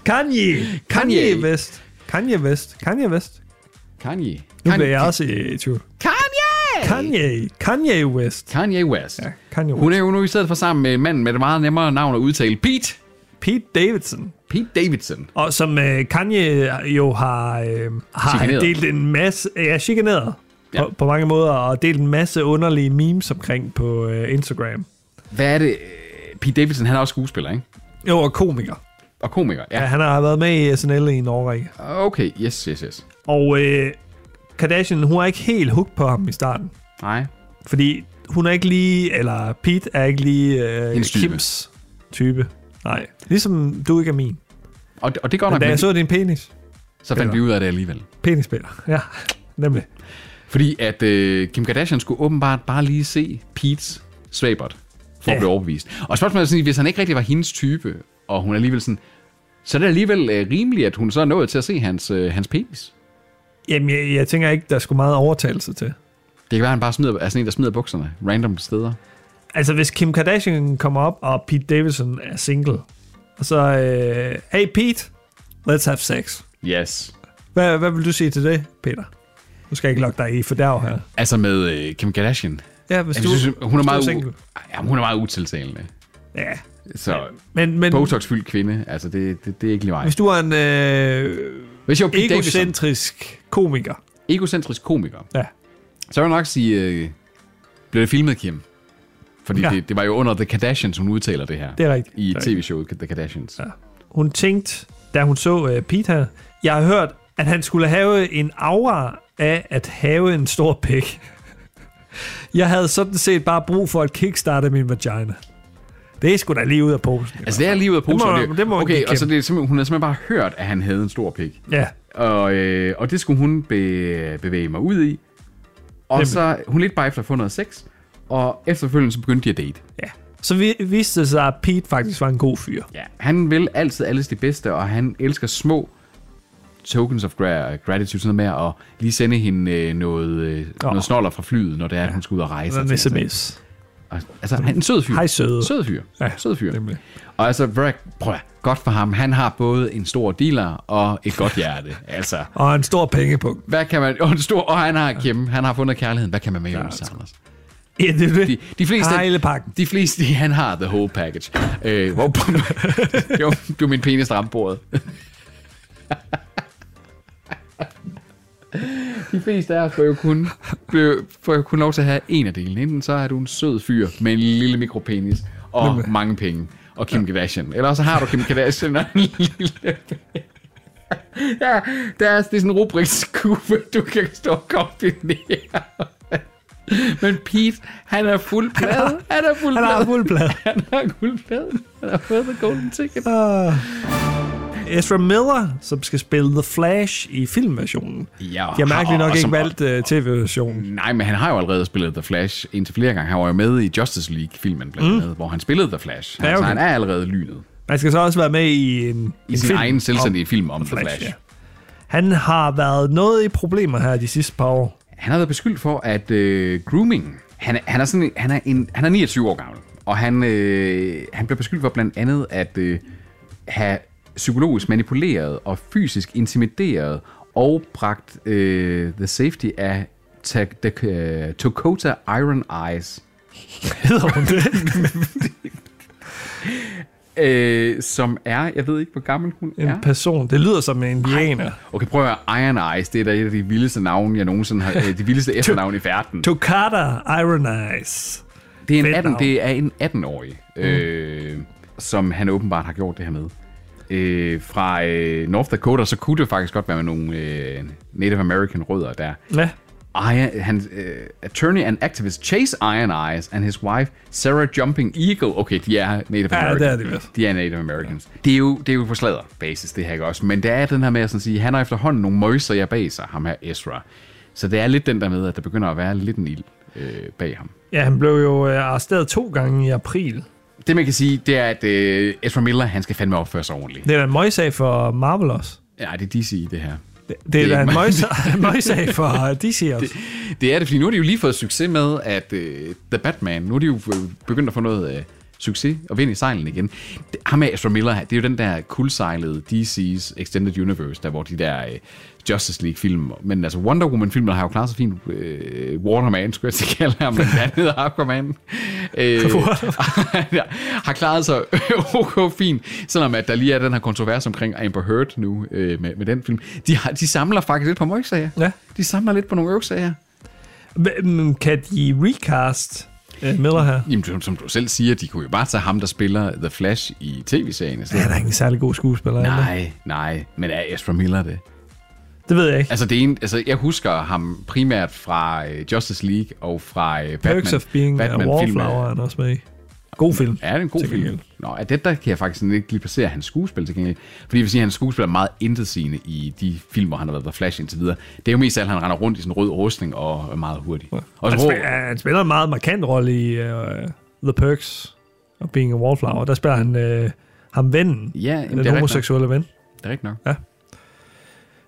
Speaker 2: Kanye. Kanye West. Kanye West. Kanye West.
Speaker 3: Kanye.
Speaker 2: Nu
Speaker 3: Kanye.
Speaker 2: bliver jeg også i i tvivl.
Speaker 3: Kanye!
Speaker 2: Kanye. Kanye West.
Speaker 3: Kanye West.
Speaker 2: Ja, Kanye
Speaker 3: Hun
Speaker 2: West.
Speaker 3: er jo nu i stedet for sammen med manden med det meget nemmere navn at udtale. Pete.
Speaker 2: Pete Davidson.
Speaker 3: Pete Davidson.
Speaker 2: Og som øh, Kanye jo har, øh, har
Speaker 3: Chikaneret.
Speaker 2: delt en masse... Ja, chikaneret.
Speaker 3: Ja.
Speaker 2: Ja. På, på mange måder, og delt en masse underlige memes omkring på øh, Instagram.
Speaker 3: Hvad er det? Pete Davidson, han er også skuespiller, ikke?
Speaker 2: Jo, og komiker.
Speaker 3: Og komiker, ja.
Speaker 2: Ja, han har været med i SNL i en årrække.
Speaker 3: Okay, yes, yes, yes.
Speaker 2: Og øh, Kardashian, hun er ikke helt hooked på ham i starten.
Speaker 3: Nej.
Speaker 2: Fordi hun er ikke lige, eller Pete er ikke lige øh,
Speaker 3: Hendes type.
Speaker 2: Kims type. Nej, ligesom du ikke er min.
Speaker 3: Og, og det går nok,
Speaker 2: Da
Speaker 3: men
Speaker 2: jeg så din penis.
Speaker 3: så fandt vi ud af det alligevel.
Speaker 2: Penispiller, ja. Nemlig.
Speaker 3: Fordi at øh, Kim Kardashian skulle åbenbart bare lige se Pete's svagbot for at
Speaker 2: Ja.
Speaker 3: blive overbevist. Og spørgsmålet er sådan, hvis han ikke rigtig var hendes type, og hun alligevel sådan, så er det alligevel øh, rimeligt, at hun så er nået til at se hans, øh, hans penis.
Speaker 2: Jamen, jeg, jeg tænker ikke, der skulle meget overtagelse til.
Speaker 3: Det kan være, at han bare smider, er sådan en, der smider bukserne random steder.
Speaker 2: Altså, hvis Kim Kardashian kommer op, og Pete Davidson er single, og så, øh, hey Pete, let's have sex.
Speaker 3: Yes.
Speaker 2: Hvad, hvad vil du sige til det, Peter? Nu skal jeg ikke lokke dig i fordærv her.
Speaker 3: Altså med øh, Kim Kardashian. Altså,
Speaker 2: Ja, hvis
Speaker 3: Jeg
Speaker 2: du,
Speaker 3: synes, hun er
Speaker 2: hvis
Speaker 3: meget,
Speaker 2: du
Speaker 3: u-
Speaker 2: single.
Speaker 3: ja, hun er meget utiltalende.
Speaker 2: Ja,
Speaker 3: Så
Speaker 2: men, men
Speaker 3: Botox-fyldt kvinde, altså det, det, det er ikke lige mig.
Speaker 2: hvis du er en øh,
Speaker 3: Hvis jeg var Pete Davidson,
Speaker 2: egocentrisk komiker,
Speaker 3: egocentrisk komiker,
Speaker 2: ja.
Speaker 3: Så vil jeg nok sige, øh, blev det filmet, Kim? Fordi
Speaker 2: Ja.
Speaker 3: ja. det, det var jo under The Kardashians, hun udtaler det her.
Speaker 2: Det er rigtigt.
Speaker 3: I
Speaker 2: Det er
Speaker 3: tv-showet The Kardashians. Ja.
Speaker 2: hun tænkte, da hun så øh, Pete her, jeg har hørt, at han skulle have en aura af at have en stor pik. Jeg havde sådan set bare brug for at kickstarte min vagina. Det er sgu da lige ud af posen.
Speaker 3: Altså, det er lige ud af
Speaker 2: Det må-
Speaker 3: posen. og er-
Speaker 2: det må man
Speaker 3: okay,
Speaker 2: give
Speaker 3: og så
Speaker 2: Kim.
Speaker 3: det er simpelthen, hun har simpelthen bare hørt, at han havde en stor pik.
Speaker 2: Ja,
Speaker 3: Og, øh, og det skulle hun be, bevæge mig ud i. Og
Speaker 2: Nemlig.
Speaker 3: så, hun lidt bare efter at få noget sex. Og efterfølgende så begyndte de at date.
Speaker 2: ja. Så vi, viste det sig, at Pete faktisk var en god fyr.
Speaker 3: Ja. Han vil altid alles det bedste, og han elsker små tokens of gra- gratitude, sådan noget med at lige sende hende øh, noget, øh,
Speaker 2: Åh.
Speaker 3: noget snoller fra flyet, når det er, at hun skal ud og rejse. og
Speaker 2: Sådan en
Speaker 3: ting og sager.
Speaker 2: sms.
Speaker 3: Og- Altså, han er en sød fyr.
Speaker 2: Hej, søde.
Speaker 3: Sød fyr.
Speaker 2: Ja,
Speaker 3: Ja, sød fyr.
Speaker 2: nemlig.
Speaker 3: Og altså, Vrag, prøv at, godt for ham. Han har både en stor dealer og et godt hjerte. altså,
Speaker 2: Og en stor pengepunkt.
Speaker 3: hvad kan man... Og, en stor, og han har Kim. Han har fundet kærligheden. Hvad kan man med Jonas
Speaker 2: altså.
Speaker 3: Anders?
Speaker 2: Ja, det er det.
Speaker 3: De, de fleste...
Speaker 2: Har hele pakken.
Speaker 3: De fleste, de, han har the whole package. Øh, hvor jo, blev min penis ramt bordet. de fleste af os får jo kun, bliver- får jo kun lov til at have en af delene. Enten så er du en sød fyr med en lille mikropenis og mange penge og Kim Kardashian. Eller så har du Kim Kardashian og en lille Ja, der er, det er sådan en rubrikskube, du kan stå og kombinere. Men Pete, han er fuld plade. Han er fuld
Speaker 2: Han har
Speaker 3: plade.
Speaker 2: fuld plade.
Speaker 3: Han har guldpladen. Han har fået the golden ticket.
Speaker 2: Ah. Ezra Miller, som skal spille The Flash i filmversionen.
Speaker 3: Ja,
Speaker 2: De har mærkeligt nok
Speaker 3: og
Speaker 2: ikke
Speaker 3: som-
Speaker 2: valgt uh, tv-versionen.
Speaker 3: Nej, men han har jo allerede spillet The Flash indtil flere gange. Han var jo med i Justice League-filmen blandt
Speaker 2: Mm.
Speaker 3: andet, hvor han spillede The Flash. Han,
Speaker 2: Ja,
Speaker 3: ja, okay.
Speaker 2: okay.
Speaker 3: han er allerede lynet
Speaker 2: Man skal så også være med i en,
Speaker 3: i
Speaker 2: en
Speaker 3: sin
Speaker 2: film
Speaker 3: egen
Speaker 2: om
Speaker 3: selvstændige film om The Flash.
Speaker 2: Flash. Ja. Han har været noget i problemer her de sidste par år.
Speaker 3: Han har været beskyldt for, at øh, grooming... Han, er- han, er sådan, en- han, er en, han er 29 år gammel, og han, øh, han blev beskyldt for blandt andet at øh, have psykologisk manipuleret og fysisk intimideret og bragt øh, The Safety af Ta- Da- øh, Dakota Iron Eyes,
Speaker 2: Hedder hun det?
Speaker 3: øh, som er, jeg ved ikke, hvor gammel hun
Speaker 2: En
Speaker 3: er.
Speaker 2: person. Det lyder som en indianer.
Speaker 3: Okay, prøv at høre. Iron Eyes, det er da et af de vildeste navne, jeg nogensinde har... øh, de vildeste efternavne i verden.
Speaker 2: Tokata Iron Eyes.
Speaker 3: Det er en,
Speaker 2: Fedt
Speaker 3: 18,
Speaker 2: navn. Mm.
Speaker 3: det er en 18-årig, øh, som han åbenbart har gjort det her med. Øh, fra øh, North Dakota, så kunne det faktisk godt være med nogle øh, Native American rødder der.
Speaker 2: Ja.
Speaker 3: Iron, han, øh, attorney and activist Chase Iron Eyes and his wife Sarah Jumping Eagle. Okay, de er Native
Speaker 2: Ja,
Speaker 3: Americans.
Speaker 2: det er de vel.
Speaker 3: De er Native Americans. Det er jo, det er jo på sladder basis, det her ikke også. Men det er den her med at sådan sige, han har efterhånden nogle møjser jeg bag sig, ham her Ezra. Så det er lidt den der med, at der begynder at være lidt en ild øh, bag ham.
Speaker 2: ja, han blev jo øh, arresteret to gange i april.
Speaker 3: Det man kan sige, det er, at øh, Ezra Miller, han skal fandme opføre sig ordentligt.
Speaker 2: Det er da en møgsag for Marvel også.
Speaker 3: Ja, det er DC, det her.
Speaker 2: Det, det er
Speaker 3: ikke
Speaker 2: da en
Speaker 3: mig.
Speaker 2: møgsag- møgsag for DC også.
Speaker 3: Det er det, fordi nu har de jo lige fået succes med, at øh, The Batman, nu er de jo øh, begyndt at få noget øh, succes og vind i sejlen igen. Det, ham med Ezra Miller, det er jo den der kuldsejlede DC's Extended Universe, der hvor de der øh, Justice League-film, men altså Wonder Woman-filmen har jo klaret sig fint. Øh, Waterman, skulle jeg til at kalde ham, men han hedder Aquaman. Øh, har klaret sig ok fint, selvom at der lige er den her kontrovers omkring Amber Heard nu øh, med, med den film. De, har, de samler faktisk lidt på møgsager.
Speaker 2: Ja.
Speaker 3: De samler lidt på nogle øvsager.
Speaker 2: Men, mm, Kan de recast øh, Miller her.
Speaker 3: Jamen, som, som du selv siger, de kunne jo bare tage ham, der spiller The Flash i tv-serien. i
Speaker 2: Ja,
Speaker 3: stedet.
Speaker 2: der er ikke en særlig god skuespiller. er der?
Speaker 3: Nej, nej, men er Ezra Miller det?
Speaker 2: Det ved jeg ikke.
Speaker 3: Altså, det ene, altså, jeg husker ham primært fra øh, Justice League og fra øh, Batman.
Speaker 2: Perks of Being a
Speaker 3: Batman-filmen.
Speaker 2: Wallflower er han også med i. God film.
Speaker 3: Ja, det er en god
Speaker 2: Til
Speaker 3: film.
Speaker 2: gengæld.
Speaker 3: Nå, af det der kan jeg faktisk sådan ikke lige placere hans skuespil til gengæld. Fordi jeg vil sige, at hans skuespil er meget intetsigende i de film, hvor han har været The Flash indtil videre. Det er jo mest alt, han render rundt i sådan en rød rustning og er meget hurtig. Og så
Speaker 2: Han,
Speaker 3: rå,
Speaker 2: spiller, han spiller en meget markant rolle i uh, The Perks og Being a Wallflower. Der spiller han uh, ham vennen,
Speaker 3: Ja, jamen, det er
Speaker 2: den
Speaker 3: rigtigt.
Speaker 2: homoseksuelle ven.
Speaker 3: det er rigtigt nok.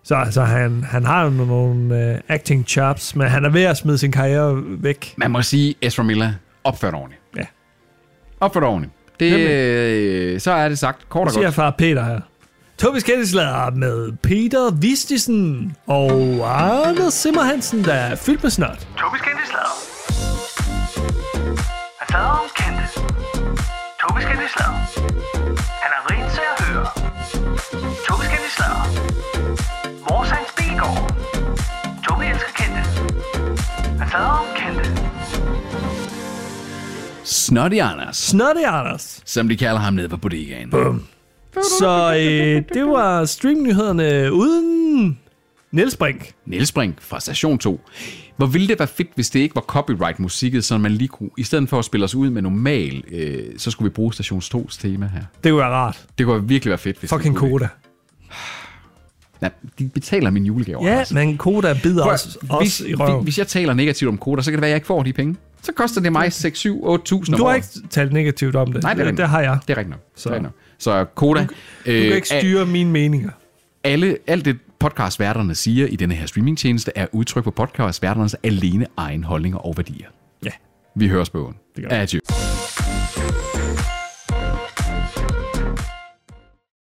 Speaker 2: Så altså, han, han har jo nogle uh, acting chops, men han er ved at smide sin karriere væk.
Speaker 3: Man må sige, Ezra Miller opført ordentligt.
Speaker 2: Ja.
Speaker 3: Opført ordentligt. Det, øh, så er det sagt kort og
Speaker 2: Det siger
Speaker 3: godt.
Speaker 2: far Peter her. Tobis Kændeslader med Peter Vistisen og Arne Simmerhansen, der er fyldt med snart.
Speaker 4: Tobis kendte slader. Han slader om kendte. Tobis kendte slader. Han er rent til at høre. Tobis kendte slader. Vores hans bilgård. Tobi elsker kendte. Han slader om kendte.
Speaker 3: Snotty Anders,
Speaker 2: Snotty Anders.
Speaker 3: som de kalder ham nede på bodegaen.
Speaker 2: Så øh, det var streamnyhederne uden Niels Brink.
Speaker 3: Niels Brink fra Station 2. Hvor ville det være fedt, hvis det ikke var copyright-musikket, så man lige kunne, i stedet for at spille os ud med normal, øh, så skulle vi bruge Station 2's tema her.
Speaker 2: Det kunne være rart.
Speaker 3: Det kunne virkelig være fedt, hvis
Speaker 2: Fucking
Speaker 3: vi kunne
Speaker 2: Koda.
Speaker 3: det. Nej, de betaler min julegave.
Speaker 2: Ja,
Speaker 3: Anders.
Speaker 2: men Koda bider
Speaker 3: Prøv,
Speaker 2: os, os i røven.
Speaker 3: hvis jeg taler negativt om koder, så kan det være, at jeg ikke får de penge. Så koster det mig 6, 7, 8.000 om
Speaker 2: Du har
Speaker 3: året.
Speaker 2: ikke talt negativt om det.
Speaker 3: Nej, det, er
Speaker 2: det,
Speaker 3: rigtigt. Øh,
Speaker 2: det har jeg.
Speaker 3: Det er rigtigt nok. Så,
Speaker 2: Så-
Speaker 3: det er rigtigt nok. så Koda,
Speaker 2: Du kan ikke styre mine meninger.
Speaker 3: alle, alt det podcastværterne siger i denne her streamingtjeneste, er udtryk for podcastværternes alene egen holdninger og værdier.
Speaker 2: Ja.
Speaker 3: Vi høres på åen.
Speaker 2: Det gør vi.
Speaker 3: Adjø.